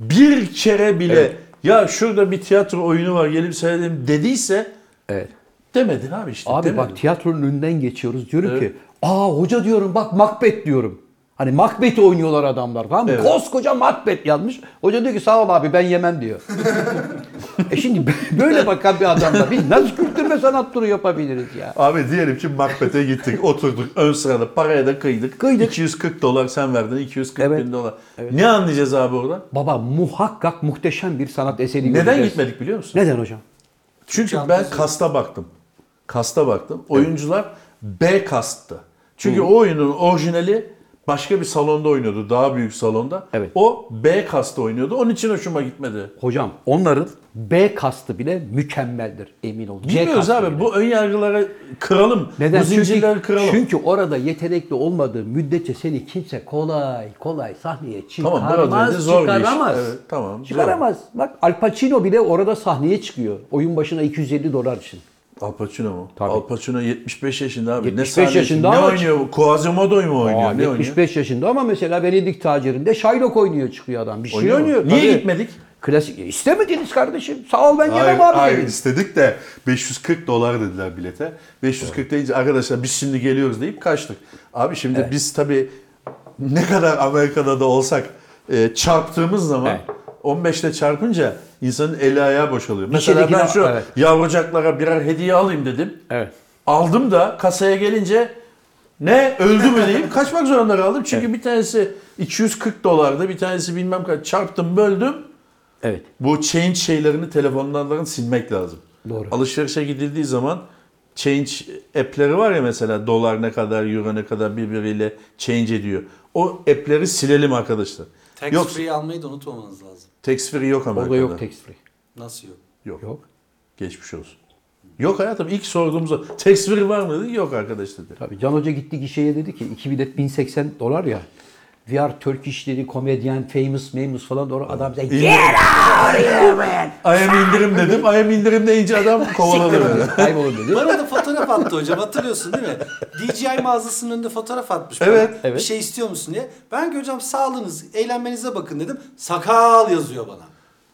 S2: Bir kere bile
S1: Evet.
S2: ya şurada bir tiyatro oyunu var gelip seyredelim dediyse
S1: Evet.
S2: demedin abi işte.
S1: Abi
S2: demedin.
S1: bak tiyatronun önünden geçiyoruz. Diyorum
S2: Evet.
S1: ki aa hoca diyorum bak Macbeth diyorum. Hani Macbeth'i oynuyorlar adamlar tamam mı?
S2: Evet.
S1: Koskoca Macbeth yazmış. Hoca diyor ki sağ ol abi ben yemem diyor. e şimdi böyle bakan bir adamla biz nasıl kültür ve sanat turu yapabiliriz ya?
S2: Abi diyelim ki Macbeth'e gittik oturduk ön sırada paraya da kıydık.
S1: Kıydık.
S2: 240 dolar sen verdin 240
S1: Evet.
S2: bin dolar. Ne anlayacağız abi oradan?
S1: Baba muhakkak muhteşem bir sanat eseri
S2: Neden
S1: göreceğiz.
S2: gitmedik biliyor musun?
S1: Neden hocam?
S2: Çünkü
S3: Çantası
S2: ben
S3: yok.
S2: kasta baktım. Kasta baktım. Oyuncular B kasttı. Çünkü o oyunun orijinali başka bir salonda oynuyordu. Daha büyük salonda.
S1: Evet.
S2: O B kasta oynuyordu. Onun için hoşuma gitmedi.
S1: Hocam onların B kastı bile mükemmeldir emin ol. C
S2: Bilmiyoruz
S1: kastı
S2: abi.
S1: bile.
S2: Bu ön yargılara kıralım.
S1: Neden?
S2: Bu zincirleri
S1: çünkü,
S2: kıralım.
S1: Çünkü orada yetenekli olmadığı müddetçe seni kimse kolay kolay sahneye
S2: Tamam,
S1: çıkaramaz.
S2: Broadway'de zor bir iş.
S1: çıkaramaz.
S2: Evet, tamam,
S1: Çıkaramaz. Bak Al Pacino bile orada sahneye çıkıyor. Oyun başına 250 dolar için.
S2: Al Pacino mu?
S1: Tabii.
S2: Al Pacino 75 yaşında abi.
S1: 75
S2: ne
S1: yaşında
S2: sahne yaşında Ne
S1: ama-
S2: oynuyor bu? Quasimodo'yu mu oynuyor?
S1: Aa,
S2: ne
S1: 75 yaşında ama mesela Venedik tacirinde Shylock oynuyor çıkıyor adam. Bir şey
S2: oynuyor?
S1: oynuyor.
S2: Oynuyor mu? Niye
S1: Tabii.
S2: gitmedik?
S1: Klasik. E, İstemediniz kardeşim. Sağ ol ben
S5: Hayır,
S1: yemem abi.
S5: hayır
S1: dediniz.
S5: istedik de 540 dolar dediler bilete. 540 deyince arkadaşlar biz şimdi geliyoruz deyip kaçtık. Abi şimdi biz tabii ne kadar Amerika'da da olsak e, çarptığımız zaman
S1: Evet.
S2: 15'te çarpınca insanın eli ayağı boşalıyor. Mesela
S1: şeydeki
S2: ben
S1: de-
S2: şu
S1: evet.
S2: yavrucaklara birer hediye alayım dedim.
S1: Evet.
S2: Aldım da kasaya gelince ne öldü mü deyip kaçmak zorunda kaldım. Çünkü bir tanesi 240 dolardı, bir tanesi bilmem kaç çarptım böldüm.
S1: Evet.
S2: Bu change şeylerini telefonlardan silmek lazım.
S1: Doğru.
S2: Alışverişe gidildiği zaman change app'leri var ya mesela dolar ne kadar, euro ne kadar birbiriyle change ediyor. O app'leri silelim arkadaşlar.
S3: Tax
S2: yok
S3: free almayı da unutmamanız lazım.
S2: tax free yok Amerika'da.
S1: Orada yok tax free.
S3: Nasıl yok?
S2: Yok.
S1: Yok.
S2: Geçmiş olsun. Yok hayatım ilk sorduğumuzda tax free var mı dedi. Yok arkadaşlar dedi.
S1: Tabii Can Hoca gitti gişeye dedi ki 2 bilet 1080 dolar ya. We are Turkish dedi, komedyen, famous, famous falan doğru adam bize yeah!
S2: I am indirim dedim. I am indirim deyince adam kovaladı beni.
S1: kaybolun dedi.
S3: Bana da fotoğraf attı hocam hatırlıyorsun değil mi? DJI mağazasının önünde fotoğraf atmış.
S2: Evet.
S3: bana.
S1: Evet.
S3: Bir şey istiyor musun diye. Ben ki hocam sağlığınız, eğlenmenize bakın dedim. Sakal yazıyor bana.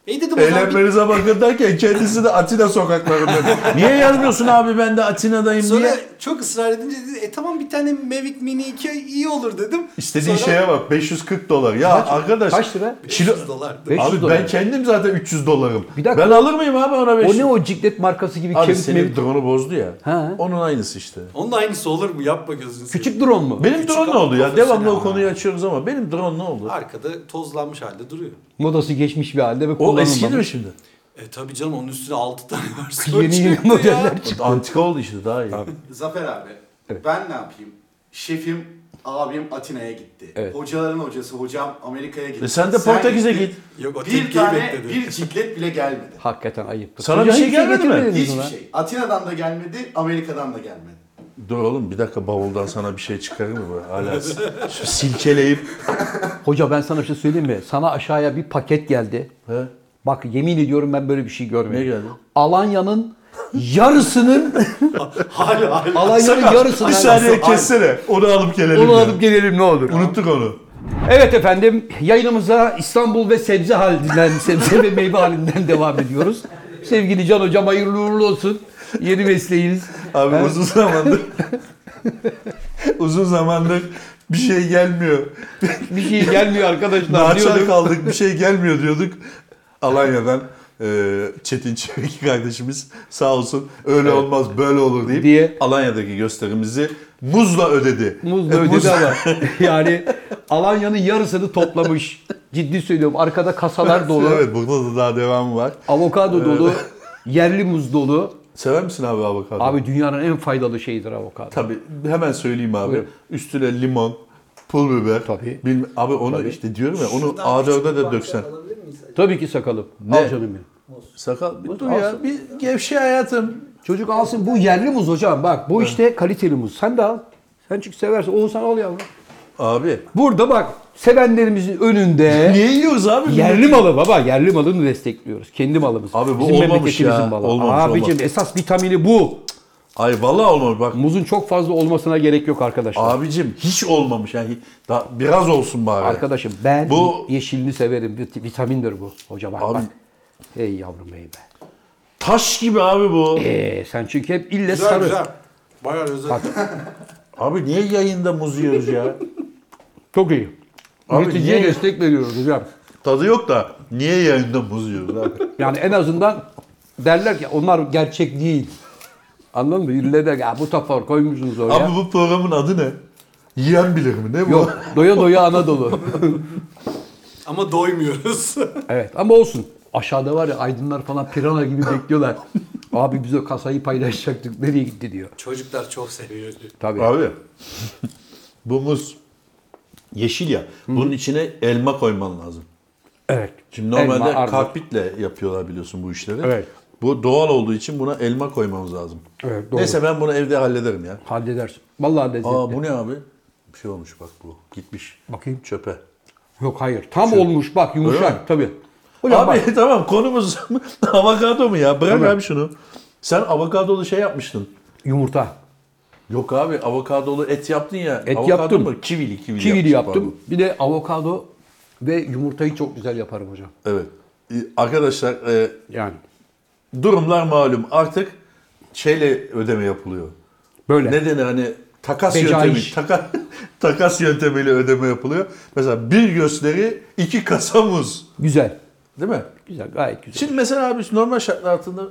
S3: İyi dedim o zaman bir-
S2: Eğlenmenize bakın derken kendisi de Atina sokaklarında. Niye yazmıyorsun abi ben de Atina'dayım
S3: Sonra
S2: diye.
S3: çok ısrar edince dedi, e tamam bir tane Mavic Mini 2 iyi olur dedim.
S5: İstediğin
S3: Sonra
S5: şeye bak 540 dolar. Ya arkadaş.
S1: Kaç lira?
S3: 500 dolar.
S1: Beş- 500
S5: Abi
S1: dolar.
S5: ben kendim zaten 300 dolarım.
S1: Bir dakika.
S2: Ben alır mıyım abi ona 500?
S1: O ne o ciklet markası gibi
S2: Abi
S1: kemik
S2: senin
S1: mevcut.
S2: drone'u bozdu ya.
S1: Ha.
S2: Onun aynısı işte.
S3: Onun aynısı olur mu? Yapma gözünü seveyim.
S1: Küçük drone mu?
S2: Benim
S3: Küçük
S2: drone ne
S3: ama
S2: oldu ya?
S3: profesyonel
S2: Devamlı o
S3: ama.
S2: konuyu açıyoruz ama benim drone ne oldu?
S3: Arkada tozlanmış halde duruyor.
S1: Modası geçmiş bir halde ve
S2: O
S1: kullanılmamış.
S2: eskidi mi şimdi?
S3: E tabii canım onun üstüne 6 tane var.
S1: Yeni yeni modeller çıktı.
S2: Antika oldu işte daha iyi.
S4: Zafer abi, ben ne yapayım? Şefim, abim Atina'ya gitti.
S1: Evet.
S4: Hocaların hocası, hocam Amerika'ya gitti.
S2: E sen de Portekiz'e git.
S3: Yok o
S4: Bir
S3: tepkiyi
S4: tane,
S3: bekledi.
S4: bir ciklet bile gelmedi.
S1: Hakikaten ayıptır.
S2: Sana
S1: Hocam
S2: bir şey
S1: hiç
S2: gelmedi mi?
S1: getirdiniz
S4: Hiçbir
S1: ona.
S4: şey. Atina'dan da gelmedi, Amerika'dan da gelmedi.
S2: Dur oğlum bir dakika bavuldan sana bir şey çıkarır mı? bu? Hala s- şu silkeleyip.
S1: Hoca ben sana bir şey söyleyeyim mi? Sana aşağıya bir paket geldi.
S2: He?
S1: Bak yemin ediyorum ben böyle bir şey görmedim.
S2: Ne geldi?
S1: Alanya'nın yarısının
S3: Hala hala.
S1: Alanya'nın yarısının
S5: Bir saniye kessene. Onu alıp gelelim.
S1: Onu
S5: ya.
S1: alıp gelelim ne olur.
S5: Unuttuk onu.
S1: Evet efendim yayınımıza İstanbul ve sebze halinden, sebze ve meyve halinden devam ediyoruz. Sevgili Can Hocam hayırlı uğurlu olsun. Yeni mesleğiniz.
S5: Abi uzun zamandır uzun zamandır bir şey gelmiyor.
S1: Bir şey gelmiyor arkadaşlar
S5: Naçar
S1: diyordum.
S5: kaldık bir şey gelmiyor diyorduk. Alanya'dan e, Çetin Çevik kardeşimiz sağ olsun öyle olmaz böyle olur deyip
S1: Diye.
S5: Alanya'daki gösterimizi muzla ödedi.
S1: Muz
S5: E,
S1: da ödedi ama. Yani Alanya'nın yarısını toplamış. Ciddi söylüyorum. Arkada kasalar dolu.
S5: Evet burada da daha devamı var.
S1: Avokado dolu. Yerli muz dolu.
S5: Sever misin abi avokado?
S1: Abi dünyanın en faydalı şeyidir avokado.
S5: Tabii hemen söyleyeyim abi.
S1: Buyurun.
S5: Üstüne limon, pul biber.
S1: Tabii.
S5: bilmem- abi onu işte diyorum ya onu A4'e de döksen.
S1: Tabii ki sakalım. Al canım benim.
S2: Sakal bir dur
S1: Al
S2: ya.
S1: sakal.
S2: Bir gevşe hayatım.
S1: Çocuk alsın bu yerli muz hocam bak. Bu işte kaliteli muz. Sen de al. Sen çünkü seversin. Oğuzhan al yavrum.
S2: Abi.
S1: Burada bak sevenlerimizin önünde
S2: Niye yiyoruz abi?
S1: yerli malı baba. Yerli malını destekliyoruz. Kendi malımız.
S2: Abi bu olmamış
S1: memleketimizin
S2: ya. Olmamış,
S1: Abicim
S2: olmamış.
S1: esas vitamini bu.
S2: Ay vallahi olmamış bak.
S1: Muzun çok fazla olmasına gerek yok arkadaşlar.
S2: Abicim hiç olmamış yani. Daha biraz olsun bari.
S1: Arkadaşım ben
S2: Bu-
S1: yeşilini severim. Vit- Vitamindir bu. Hoca bak
S2: Abi-
S1: bak. Hey yavrum hey be.
S2: Taş gibi abi bu.
S1: Ee, sen çünkü hep ille
S3: Güzel
S1: sarı.
S3: güzel. Bayağı özel.
S2: Abi niye yayında muz yiyoruz ya?
S1: Çok iyi.
S2: Abi
S1: Üreticiye
S2: niye-
S1: destek veriyoruz hocam.
S2: Tadı yok da niye yayında muz yiyoruz abi?
S1: Yani en azından derler ki onlar gerçek değil. Anladın mı? İlle der ki, "Ya bu tafar koymuşsunuz oraya.
S2: abi bu programın adı ne? Yiyen bilir mi? Ne bu?
S1: Yok doya doya Anadolu.
S3: Ama doymuyoruz.
S1: evet ama olsun. Aşağıda var ya aydınlar falan pirana gibi bekliyorlar. Abi biz o kasayı paylaşacaktık nereye gitti diyor.
S3: Çocuklar çok seviyor.
S1: Tabii.
S2: Abi bu muz yeşil ya. Bunun içine elma koyman lazım.
S1: Evet.
S2: Şimdi
S1: Elma,
S2: normalde
S1: armut.
S2: karpitle yapıyorlar biliyorsun bu işleri.
S1: Evet.
S2: Bu doğal olduğu için buna elma koymamız lazım.
S1: Evet, doğru.
S2: Neyse ben bunu evde hallederim ya.
S1: Halledersin. Vallahi lezzetli.
S2: Aa bu ne abi? Bir şey olmuş bak bu. Gitmiş.
S1: Bakayım.
S2: Çöpe.
S1: Yok hayır. Tam olmuş bak
S2: Şey- Öyle mi?
S1: yumuşak tabii. Hocam
S2: abi
S1: bak.
S2: tamam konumuz avokado mu ya? Bırak
S1: Tabii.
S2: abi şunu. Sen avokadolu şey yapmıştın.
S1: Yumurta.
S2: Yok abi avokadolu et yaptın ya.
S1: Et
S2: avokado
S1: yaptım.
S2: Mu? Kivili kivili,
S1: Kivili
S2: yapmışsın,
S1: yaptım.
S2: pardon.
S1: Bir de avokado ve yumurtayı çok güzel yaparım hocam.
S2: Evet. Ee, Arkadaşlar e,
S1: Yani
S2: durumlar malum artık şeyle ödeme yapılıyor.
S1: böyle.
S2: Ne denir hani takas
S1: Becaiş.
S2: yöntemi. taka- takas yöntemiyle ödeme yapılıyor. Mesela bir gösteri iki kasa muz.
S1: Güzel.
S2: Değil mi?
S1: Güzel gayet güzel.
S2: Şimdi mesela abi normal şartlar altında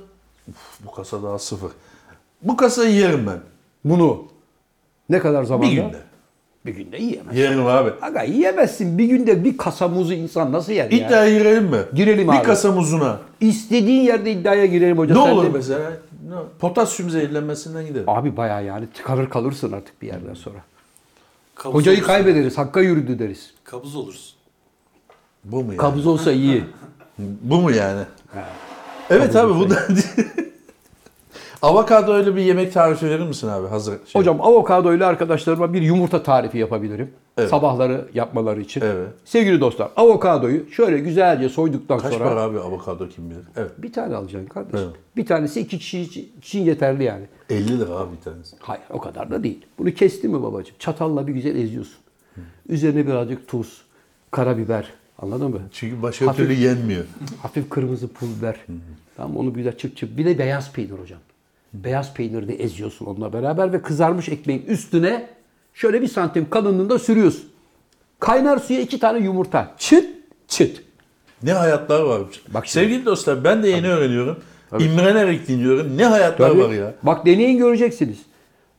S2: "Uf, bu kasa daha sıfır. Bu kasayı yerim ben.
S1: Bunu ne kadar zamanda?
S2: Bir günde.
S1: Bir günde yiyemez.
S2: Yerim abi.
S1: Aga yiyemezsin. Bir günde bir kasa muzu insan nasıl yer ya?
S2: İddiaya girelim mi?
S1: Girelim
S2: bir
S1: abi.
S2: kasa muzuna.
S1: İstediğin yerde iddiaya girelim hocam.
S2: Ne
S1: Sen
S2: olur
S1: de-
S2: mesela? Ne- Potasyum zehirlenmesinden giderim.
S1: Abi bayağı yani tıkanır kalırsın artık bir yerden sonra. Hocayı kaybederiz. Hakka yürüdü deriz.
S3: Kabuz olursun.
S2: Bu mu yani?
S1: Kabız olsa iyi.
S2: Bu mu yani? Evet abi bu da... Avokado öyle bir yemek tarifi verir misin abi hazır? şey?
S1: Hocam avokado ile arkadaşlarıma bir yumurta tarifi yapabilirim.
S2: Evet.
S1: Sabahları yapmaları için.
S2: Evet.
S1: Sevgili dostlar avokadoyu şöyle güzelce soyduktan
S2: Kaç
S1: sonra
S2: para abi avokado kim bilir? Evet.
S1: bir tane alacaksın kardeşim.
S2: Evet.
S1: Bir tanesi iki kişi için- için yeterli yani.
S2: 50 lira abi bir tanesi.
S1: Hayır o kadar da değil. Bunu kestin mi babacığım? Çatalla bir güzel eziyorsun. Üzerine birazcık tuz, karabiber. Anladın mı?
S2: Çünkü başka
S1: Hafif-
S2: türlü yenmiyor.
S1: Hafif kırmızı pul biber. Tamam onu güzel çıp çıp. Bir de beyaz peynir hocam. Beyaz peyniri de eziyorsun onunla beraber ve kızarmış ekmeğin üstüne şöyle bir santim kalınlığında sürüyorsun. Kaynar suya iki tane yumurta. Çıt çıt.
S2: Ne hayatlar var.
S1: Bak
S2: Bak
S1: şimdi.
S2: Sevgili dostlar ben de yeni öğreniyorum. İmrenerek dinliyorum. Ne hayatlar
S1: Tabii.
S2: var ya.
S1: Bak deneyin göreceksiniz.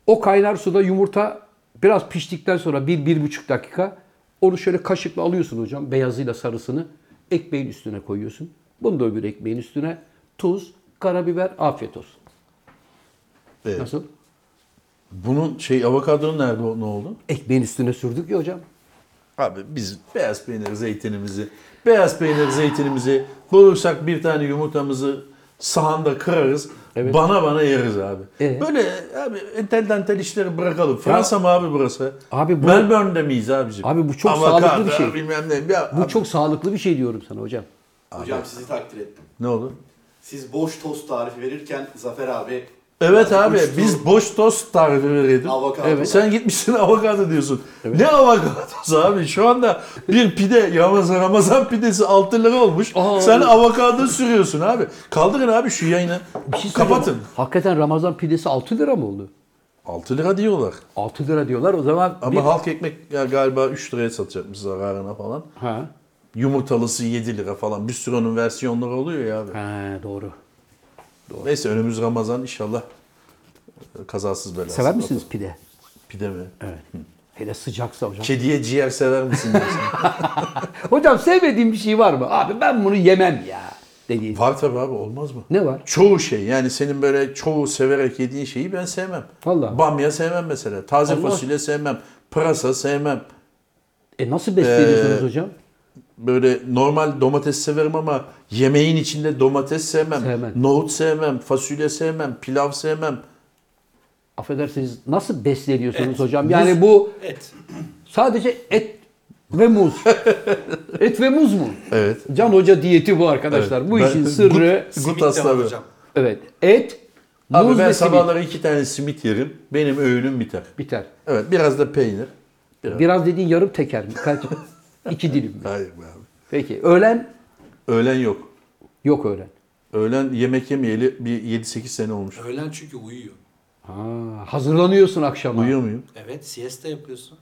S1: O kaynar suda yumurta biraz piştikten sonra bir, bir buçuk dakika onu şöyle kaşıkla alıyorsun hocam. Beyazıyla sarısını ekmeğin üstüne koyuyorsun. Bunu da öbür ekmeğin üstüne. Tuz, karabiber, afiyet olsun.
S2: Evet.
S1: Nasıl?
S2: Bunun şey avokadonun nerede o- ne oldu?
S1: Ekmeğin üstüne sürdük ya hocam.
S2: Abi biz beyaz peynir zeytinimizi, beyaz peynir zeytinimizi bulursak bir tane yumurtamızı sahanda kırarız.
S1: Evet.
S2: Bana bana yeriz abi.
S1: Ee?
S2: Böyle abi entel dantel işleri bırakalım. Fransa mı abi burası?
S1: Abi bu-
S2: Melbourne'de miyiz abicim?
S1: Abi bu çok sağlıklı bir şey.
S2: bilmem ne. Ya
S1: Bu
S2: abi-
S1: çok sağlıklı bir şey diyorum sana hocam.
S4: Hocam sizi takdir ettim.
S2: Ne oldu?
S4: Siz boş tost tarifi verirken Zafer abi
S2: Evet abi
S4: uçtu.
S2: biz boş tost tarifi veriyorduk.
S4: Avokado.
S1: Evet.
S2: Sen gitmişsin avokado diyorsun. Ne avokadosu abi? Şu anda bir pide Ramazan, Ramazan pidesi 6 lira olmuş.
S1: Aa.
S2: Sen avokado sürüyorsun abi. Kaldırın abi şu yayını.
S1: Bir şey söyleyeyim mi?
S2: Kapatın.
S1: Hakikaten Ramazan pidesi 6 lira mı oldu?
S2: 6 lira diyorlar.
S1: 6 lira diyorlar o zaman.
S2: Ama
S1: bir-
S2: halk ekmek ya galiba 3 liraya satacakmış zararına falan.
S1: Ha.
S2: Yumurtalısı 7 lira falan. Bir sürü onun versiyonları oluyor ya abi.
S1: ha doğru.
S2: Neyse önümüz Ramazan inşallah e, kazasız belasız.
S1: Sever misiniz pide?
S2: Pide mi?
S1: Evet. Hele sıcaksa hocam.
S2: Kediye ciğer sever misin? diyorsun?
S1: Hocam sevmediğin bir şey var mı? Abi ben bunu yemem ya dediğin.
S2: Var tabii abi olmaz mı?
S1: Ne var?
S2: Çoğu şey yani senin böyle çoğu severek yediğin şeyi ben sevmem.
S1: Vallahi.
S2: Bamya sevmem mesela. Taze
S1: Allah.
S2: fasulye sevmem. Pırasa sevmem.
S1: E nasıl besleniyorsunuz
S2: Ee,
S1: hocam?
S2: Böyle normal domates severim ama yemeğin içinde domates sevmem.
S1: Sevmem.
S2: Nohut sevmem. Fasulye sevmem. Pilav sevmem.
S1: affedersiniz nasıl besleniyorsunuz
S2: e,
S3: Et.
S1: hocam? Yani bu
S3: Evet.
S1: sadece et ve muz. et ve muz mu?
S2: Evet.
S1: Can Hoca diyeti bu arkadaşlar.
S2: Evet.
S1: Bu
S2: Ben-
S1: işin sırrı
S2: Gut
S3: Simit de
S2: hasta
S3: var
S2: abi.
S3: hocam.
S1: evet. Et, muz
S2: Abi ben
S1: ve sabahları...
S2: sabahları iki tane simit yerim. Benim öğünüm biter.
S1: biter.
S2: Evet biraz da peynir. Biraz.
S1: Biraz dediğin yarım teker mi? Kaç? İki dilim mi?
S2: Hayır be abi.
S1: Peki. Öğlen
S2: Öğlen yok.
S1: yok öğlen.
S2: Öğlen yemek yemeyeli bir 7-8 sene olmuş.
S3: Öğlen çünkü uyuyor.
S1: Ha, hazırlanıyorsun akşama.
S2: Uyuyor muyum?
S3: Evet siesta yapıyorsun.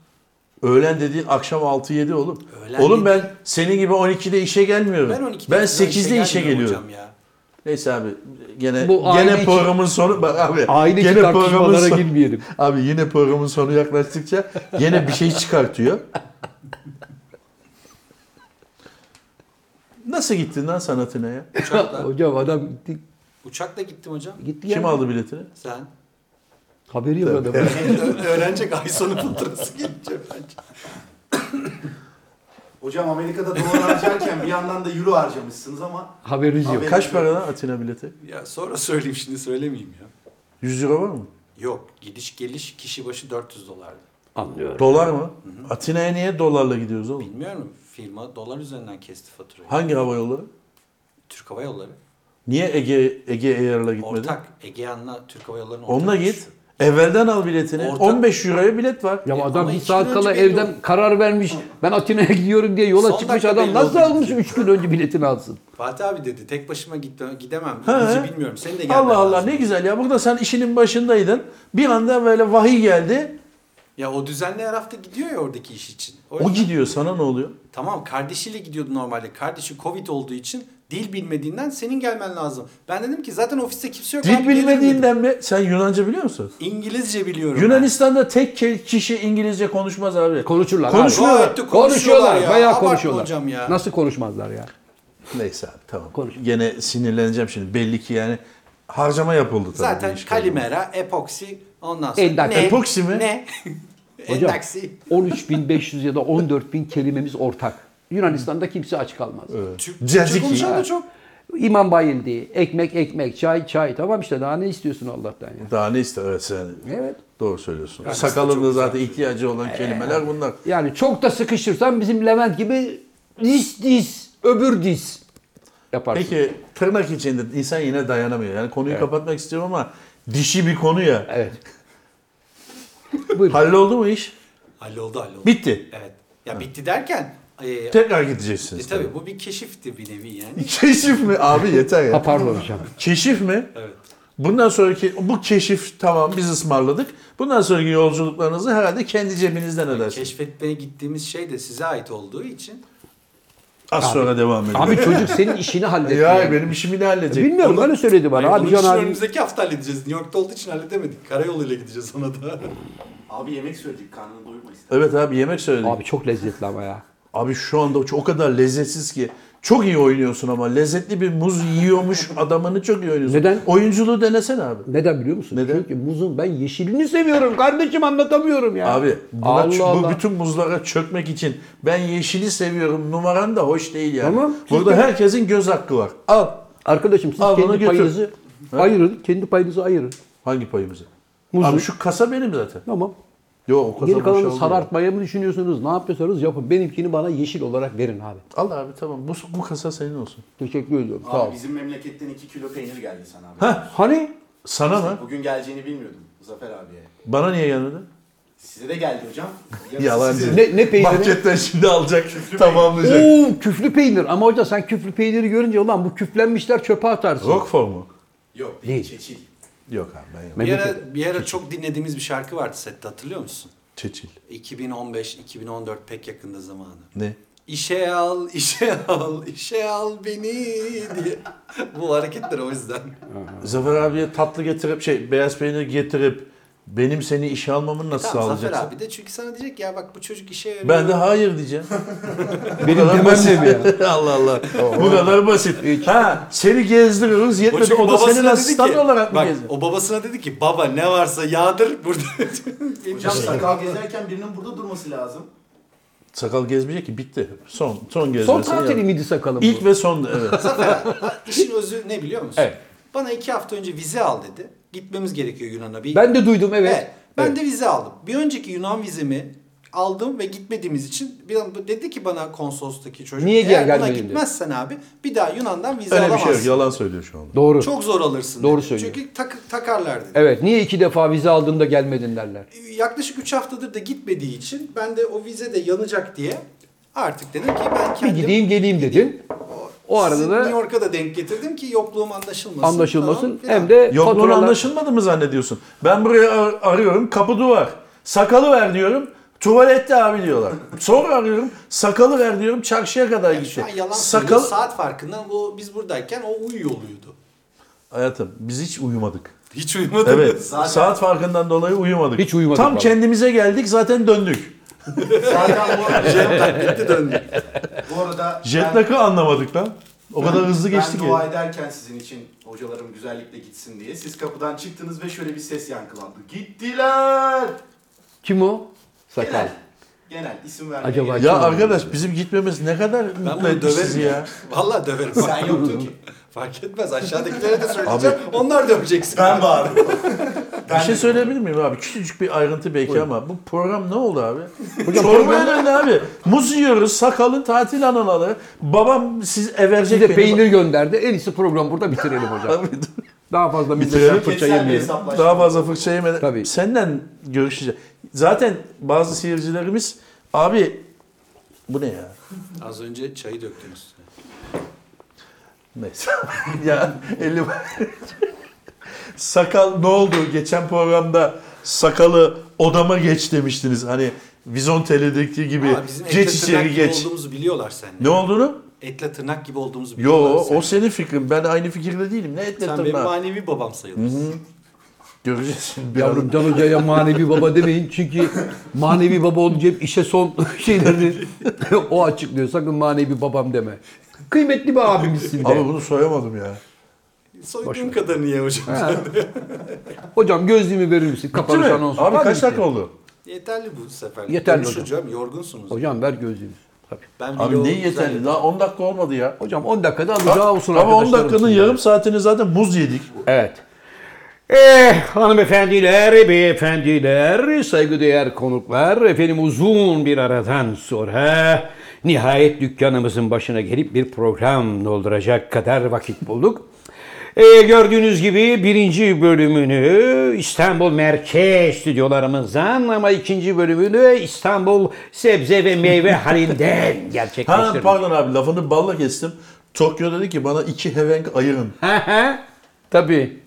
S2: Öğlen dediğin akşam 6-7 oğlum.
S3: Öğlen
S2: oğlum
S3: değil.
S2: ben senin gibi 12'de işe gelmiyorum.
S3: Ben 12'de
S2: Ben
S3: falan
S2: 8'de işe
S3: gelmiyorum
S2: geliyorum.
S3: hocam ya.
S2: Neyse abi gene
S1: Bu aile
S2: gene
S1: içi-
S2: programın sonu bak abi.
S1: Aile içi
S2: gene
S1: tartışmalara
S2: sonu-
S1: girmeyelim.
S2: Abi yine programın sonu yaklaştıkça yine bir şey çıkartıyor. Nasıl gittin lan sanatına ya?
S3: Uçakla,
S1: Hocam adam gitti.
S3: uçakla gittim hocam.
S1: gitti
S2: Kim
S1: yani.
S2: aldı biletini?
S3: Sen.
S1: Haberi yok adamın.
S3: Öğrenecek ay sonu fıtırası gelince bence.
S4: Hocam Amerika'da dolar harcarken bir yandan da euro harcamışsınız ama
S1: Haberiniz yok.
S4: Haber-
S2: Kaç para lan Atina bileti?
S3: Ya sonra söyleyeyim şimdi söylemeyeyim ya.
S2: 100 euro var mı?
S3: Yok gidiş geliş kişi başı 400 dolardı.
S1: Anlıyorum.
S2: Dolar mı? Atina'ya niye dolarla gidiyoruz oğlum?
S3: Bilmiyorum firma dolar üzerinden kesti faturayı.
S2: Hangi hava yolları?
S3: Türk Hava Yolları.
S2: Niye Ege Ege Air'la gitmedin?
S3: Ortak. Egean'la Türk Hava Yolları'nın ortak.
S2: Onunla
S3: uçuşu.
S2: git. Evvelden al biletini.
S3: Ortak-
S2: 15 euroya bilet var.
S1: Ya
S3: Ama
S1: adam bir
S3: iki gün
S1: saat
S3: önce
S1: kala
S3: belli
S1: evden
S3: oldu.
S1: karar vermiş. Ben Atina'ya gidiyorum diye yola
S3: Son
S1: çıkmış
S3: dakika
S1: adam
S3: belli
S1: nasıl
S3: oldu
S1: almış
S3: gitti.
S1: 3 gün önce biletini alsın?
S3: Fatih abi dedi tek başıma gitmem, gidemem.
S2: He.
S3: İngilizce bilmiyorum. Seni de gelmen
S2: Allah Allah
S3: lazım.
S2: ne güzel ya. Burada sen işinin başındaydın. Bir anda böyle vahiy geldi.
S3: Ya o düzenli her hafta gidiyor ya oradaki iş için. O,
S2: O
S3: yüzden-
S2: gidiyor sana ne oluyor?
S3: Tamam kardeşiyle gidiyordu normalde. Kardeşi Covid olduğu için dil bilmediğinden senin gelmen lazım. Ben dedim ki zaten ofiste kimse yok. abi,
S2: Dil
S3: gelirim dedim.
S2: bilmediğinden mi? Sen Yunanca biliyor musun?
S3: İngilizce biliyorum.
S2: Yunanistan'da tek ke- kişi İngilizce konuşmaz abi.
S1: Konuşurlar.
S2: Konuş-
S1: abi.
S3: ben. Gayet de
S1: Konuşuyorlar.
S3: ya.
S1: Bayağı
S3: Abartma
S1: konuşuyorlar.
S3: Hocam ya.
S1: Nasıl konuşmazlar ya?
S2: Neyse abi tamam.
S1: Konuş.
S2: Gene sinirleneceğim şimdi. Belli ki yani harcama yapıldı tabii. bu
S3: Zaten
S2: işten.
S3: kalimera, epoksi, ondan sonra
S1: Endaksi.
S3: ne?
S2: Epoksi mi?
S3: Ne? E,
S1: Hocam
S3: Endaksi.
S1: 13.500 ya da 14.000 kelimemiz ortak. Yunanistan'da kimse aç kalmaz.
S3: Türk,
S2: Caciki.
S3: Türkçe konuşan da çok.
S1: İmam Bayildi, ekmek ekmek, çay çay tamam işte daha ne istiyorsun Allah'tan ya.
S2: Daha ne ister? Evet sen
S1: Evet.
S2: doğru söylüyorsun.
S3: Yani
S2: Sakalın
S3: çok Ee,
S2: da
S3: güzel
S2: zaten ihtiyacı olan kelimeler bunlar.
S1: Yani çok da sıkışırsan bizim Levent gibi dis dis, öbür dis yaparsın.
S2: Peki tırnak içinde insan yine dayanamıyor. Yani konuyu kapatmak istiyorum ama dişi bir konu ya.
S1: Evet. Buyurun.
S2: Halloldu mu iş?
S3: Halloldu halloldu.
S2: Bitti.
S3: Evet. Ya bitti derken e, e,
S2: Tekrar gideceksiniz.
S3: tabii bu bir keşifti bir nevi yani.
S2: Keşif mi? Abi yeter ya.
S1: Ha pardon hocam.
S2: Keşif mi?
S3: Evet.
S2: Bundan sonraki bu keşif tamam biz ısmarladık. Bundan sonraki yolculuklarınızı herhalde kendi cebinizden ödersiniz.
S3: Keşfetmeye gittiğimiz şey de size ait olduğu için
S2: Az sonra devam edelim.
S1: Abi çocuk senin işini halletti.
S2: ya benim işimi ne halledecek?
S1: Bilmiyorum öyle söyledi bana.
S3: Hayır,
S1: Abi
S3: onun
S1: Can
S3: için
S1: abi
S3: önümüzdeki hafta halledeceğiz. New York'ta olduğu için halledemedik. Karayoluyla gideceğiz ona da.
S4: abi yemek söyledik karnını doyurma istedim.
S2: Evet abi yemek söyledik. Abi,
S1: Abi çok lezzetli ama ya.
S2: şu anda o o kadar lezzetsiz ki. Çok iyi oynuyorsun ama lezzetli bir muz yiyormuş adamını çok iyi oynuyorsun.
S1: Neden?
S2: Oyunculuğu denesene abi.
S1: Neden biliyor musun?
S2: Neden?
S1: Çünkü muzun ben yeşilini seviyorum kardeşim anlatamıyorum ya.
S2: Abi buna
S1: Allah
S2: ç- bu
S1: Allah.
S2: bütün muzlara çökmek için ben yeşili seviyorum numaran da hoş değil yani.
S1: Tamam.
S2: Burada herkesin göz hakkı var. Al.
S1: Arkadaşım siz
S2: Al bunu
S1: kendi
S2: götür.
S1: payınızı ayırın. Kendi payınızı ayırın.
S2: Hangi payımızı?
S1: Muzu.
S2: Abi şu kasa benim zaten.
S1: Tamam.
S2: Yok o kasa
S1: Geri kalanı
S2: boşaldı.
S1: sarartmaya mı düşünüyorsunuz? Ne yapıyorsanız yapın. Benimkini bana yeşil olarak verin abi.
S2: Al abi tamam bu, bu kasa senin olsun.
S1: Teşekkür ediyorum.
S4: Abi
S1: Sağ ol.
S4: bizim memleketten 2 kilo peynir geldi sana abi.
S2: Heh
S1: Hani?
S2: sana mı?
S4: Bugün geleceğini bilmiyordum Zafer abiye.
S2: Bana niye gelmedi?
S4: Size de geldi hocam. Yarısı size.
S2: Yalancı.
S1: Ne, ne peyniri?
S2: Marketten şimdi alacak tamamlayacak.
S1: Oo küflü peynir. Ama hoca sen küflü peyniri görünce ulan bu küflenmişler çöpe atarsın.
S2: Roquefort mu?
S4: Yok
S1: Değil.
S4: değil. Çeçil.
S2: Yok abi ben yok.
S3: bir,
S1: Memleket-
S3: ara, bir ara çok dinlediğimiz bir şarkı vardı sette hatırlıyor musun?
S2: Çeçil.
S3: 2015-2014 pek yakında zamanı.
S2: Ne?
S3: İşe al, işe al, işe al beni diye. Bu hareketler o yüzden.
S2: Zafer abiye tatlı getirip şey beyaz peynir getirip benim seni işe almamı nasıl
S3: Tamam, Zafer
S2: sağlayacaksın?
S3: abi de çünkü sana diyecek ya bak bu çocuk işe yarıyor.
S2: Ben de hayır diyeceğim.
S1: Benim demem de mi ya?
S2: Allah Allah. Bu kadar basit. Ha, seni gezdiriyoruz
S3: O
S2: yetmedi.
S3: çünkü
S2: O da
S3: babasına
S2: senin
S3: dedi
S2: asistan
S3: ki-
S2: olarak mı
S3: bak,
S2: gezdi?
S3: O babasına dedi ki baba ne varsa yağdır burada.
S4: Hocam sakal gezerken birinin burada durması lazım.
S2: Sakal gezmeyecek ki bitti. Son son gezmesi.
S1: Son tatili miydi sakalım bu?
S2: İlk ve son evet.
S3: Zafer abi, ha, işin özü ne biliyor musun?
S1: Evet.
S3: Bana iki hafta önce vize al dedi. gitmemiz gerekiyor Yunan'a. Bir
S1: Ben de duydum evet.
S3: Evet, Ben de vize aldım. Bir önceki Yunan vizemi aldım ve gitmediğimiz için bir an- dedi ki bana konsolostaki çocuk.
S1: Niye gel-
S3: Eğer buna
S1: gelmedin?" dedi.
S3: gitmezsen abi bir daha Yunan'dan vize
S2: Öyle bir
S3: alamazsın.
S2: şey yok. Yalan söylüyor şu anda.
S1: Doğru.
S3: Çok zor alırsın.
S1: Doğru
S3: dedi.
S1: söylüyor.
S3: Çünkü tak, takarlar dedi.
S1: Evet niye iki defa vize aldığında gelmedin derler.
S3: Yaklaşık 3 haftadır da gitmediği için ben de o vize de yanacak diye artık dedim ki ben
S1: Bir
S3: kendim
S1: gideyim geleyim dedin. O arada
S3: sizi
S1: da
S3: New York'a da denk getirdim ki yokluğum anlaşılmasın.
S1: anlaşılmasın.
S3: falan filan.
S1: Hem de
S2: Yok bunu
S1: faturalar-
S2: anlaşılmadı mı zannediyorsun? Ben buraya ar- arıyorum kapı duvar. Sakalı ver diyorum. Tuvalette abi diyorlar. Sonra arıyorum sakalı ver diyorum çarşıya kadar
S3: Şu
S2: gitti.
S3: an yalan
S2: Sakal...
S3: söylüyor. Saat farkından o, biz buradayken o uyuyor oluyordu.
S2: Hayatım biz hiç uyumadık.
S3: Hiç uyumadı.
S2: Evet
S4: Zaten-
S2: saat farkından dolayı uyumadık.
S1: Hiç uyumadık
S2: Tam
S1: vallahi.
S2: kendimize geldik zaten döndük.
S4: Zaten bu arada,
S3: Gitti döndü.
S4: bu arada ben-
S2: Jetlag'ı anlamadık lan. O kadar hızlı geçti
S4: ben
S2: ki.
S4: dua ederken sizin için hocalarım güzellikle gitsin diye siz kapıdan çıktınız ve şöyle bir ses yankılandı. Gittiler.
S1: Kim o? Sakal.
S4: Genel. Genel isim vermeye
S1: Acaba
S4: gerek
S1: kim
S2: Ya
S1: o?
S2: arkadaş bizim gitmemiz ne kadar
S3: Ben
S2: mutlu
S3: bunu
S2: etti
S3: döverim
S2: sizi
S3: ya.
S2: ya.
S3: Vallahi döverim.
S4: yok. Sen yoktun ki.
S3: Fark etmez aşağıdakilere de söyleyeceğim. Onlar döveceksin.
S4: Ben bağırdım.
S2: Bir şey söyleyebilir miyim abi? Küçücük bir ayrıntı belki ama bu program ne oldu abi?
S1: Hocam
S2: Sormaya döndü abi. Muz yiyoruz, sakalın tatil anıları. Babam siz everecek
S1: Size
S2: beni.
S1: peynir gönderdi. En iyisi programı burada bitirelim hocam.
S2: Abi,
S1: Daha fazla
S2: Bitirelim.
S1: millete fırça
S4: Ketsel bir
S1: yemeyelim.
S4: hesaplaşma.
S2: Daha fazla fırça yemeden.
S1: şey Tabii.
S2: Senden görüşeceğiz. Zaten bazı seyircilerimiz abi bu ne ya?
S3: Az önce çayı döktünüz.
S2: Neyse. ya 50 Sakal ne oldu? Geçen programda sakalı odama geç demiştiniz. Hani Vizontele'deki gibi
S3: Aa, bizim etle
S2: geç
S3: tırnak
S2: içeri
S3: gibi
S2: geç.
S3: olduğumuzu biliyorlar seninle.
S2: Ne olduğunu?
S3: Etle tırnak gibi olduğumuzu biliyorlar
S2: Yo
S3: seninle.
S2: o senin fikrin. Ben aynı fikirde değilim. Ne etle
S3: Sen benim
S2: tırnağı?
S3: manevi babam sayılırsın.
S2: Göreceğiz şimdi biraz.
S1: Yavrum Can Hoca'ya manevi baba demeyin çünkü manevi baba olunca hep işe son şeylerini o açıklıyor. Sakın manevi babam deme. Kıymetli bir abimizsin de.
S2: Abi bunu soyamadım ya.
S3: Soyduğum kadarını ye hocam.
S1: Ha. Hocam gözlüğümü verir misin? Kapanış
S2: Değil mi?
S1: anonsu.
S2: Abi
S1: Tabii
S2: kaç
S1: ki.
S2: dakika oldu?
S3: Yeterli bu sefer.
S1: Yeterli
S3: Konuşacağım, Yorgunsunuz.
S1: Hocam ver gözlüğümü. Tabii.
S3: Ben
S2: Abi
S3: bloğu
S2: ne
S3: güzel
S2: yeterli?
S3: yedim.
S2: Daha 10 dakika olmadı ya.
S1: Hocam 10 dakikada alacağı olsun
S2: Ama 10
S1: arkadaşlarım
S2: dakikanın
S1: için.
S2: yarım saatini zaten muz yedik.
S1: Evet. Eh hanımefendiler, beyefendiler, saygıdeğer konuklar, efendim uzun bir aradan sonra nihayet dükkanımızın başına gelip bir program dolduracak kadar vakit bulduk. Eh, gördüğünüz gibi birinci bölümünü İstanbul Merkez stüdyolarımızdan ama ikinci bölümünü İstanbul Sebze ve Meyve Halinden
S2: Ha
S1: gerçekleştirdik.
S2: pardon abi lafını balla kestim. Tokyo dedi ki bana iki hevenk ayırın.
S1: Tabii.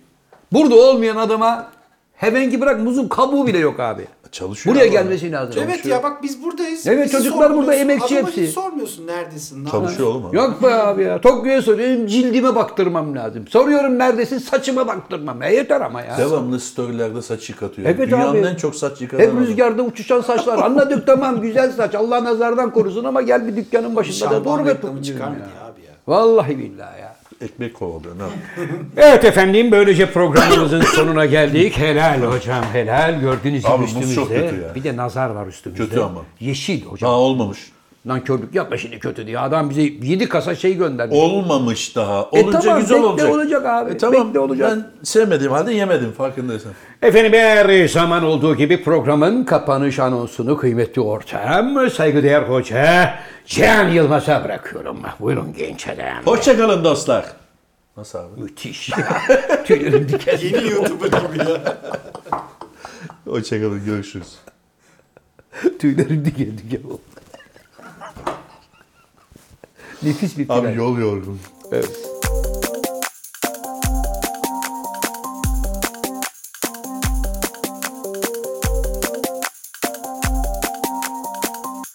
S1: Burada olmayan adama hemenki bırak muzun kabuğu bile yok abi.
S2: Çalışıyor
S1: Buraya
S2: abi.
S1: gelmesi lazım.
S3: Evet ya bak biz buradayız.
S1: Evet,
S3: Bizi
S1: çocuklar burada,
S3: sorguluyorsun.
S1: emekçi
S3: Adama
S1: hepsi.
S3: hiç sormuyorsun neredesin, ne yapıyorsun.
S2: Çalışıyor oğlum abi.
S1: Yok be abi ya. Tokyo'ya soruyorum cildime baktırmam lazım. Soruyorum neredesin saçıma baktırmam. E yeter ama ya.
S2: Devamlı storylerde saç yıkatıyor.
S1: Evet
S2: Dünyanın
S1: abi.
S2: en çok saç yıkatan
S1: Hep
S2: adamı.
S1: rüzgarda uçuşan saçlar. Anladık tamam güzel saç. Allah nazardan korusun ama gel bir dükkanın başında da
S3: Şampuan
S1: doğru
S3: reklamı
S1: yapalım.
S3: çıkar mı
S1: diyorum
S3: diye abi ya.
S1: ya. Vallahi billahi ya.
S2: Ekmek kovalıyor. Ne yapayım?
S1: Evet efendim böylece programımızın sonuna geldik. Helal hocam helal. Gördüğünüz gibi
S2: Abi muz
S1: üstümüzde
S2: çok kötü ya.
S1: bir de nazar var üstümüzde.
S2: Kötü ama.
S1: Yeşil hocam.
S2: Daha olmamış.
S1: Lan körlük yapma şimdi kötü diye. Adam bize 7 kasa şey gönderdi.
S2: Olmamış daha.
S1: E
S2: Olunca
S1: tamam,
S2: güzel
S1: bekle
S2: olacak.
S1: olacak abi,
S2: E tamam
S1: bekle olacak.
S2: ben sevmediğim halde yemedim farkındaysan.
S1: Efendim her zaman olduğu gibi programın kapanış anonsunu kıymetli ortağım, saygıdeğer hoca Can Yılmaz'a bırakıyorum. Buyurun genç adam.
S2: Hoşçakalın dostlar. Nasıl abi?
S1: Müthiş ya. Tüylerim diken.
S3: Yeni YouTuber gibi ya.
S2: Hoşçakalın görüşürüz.
S1: Tüylerim diken diken oldu. Nefis bir plan.
S2: Abi yol yorgun.
S1: Evet.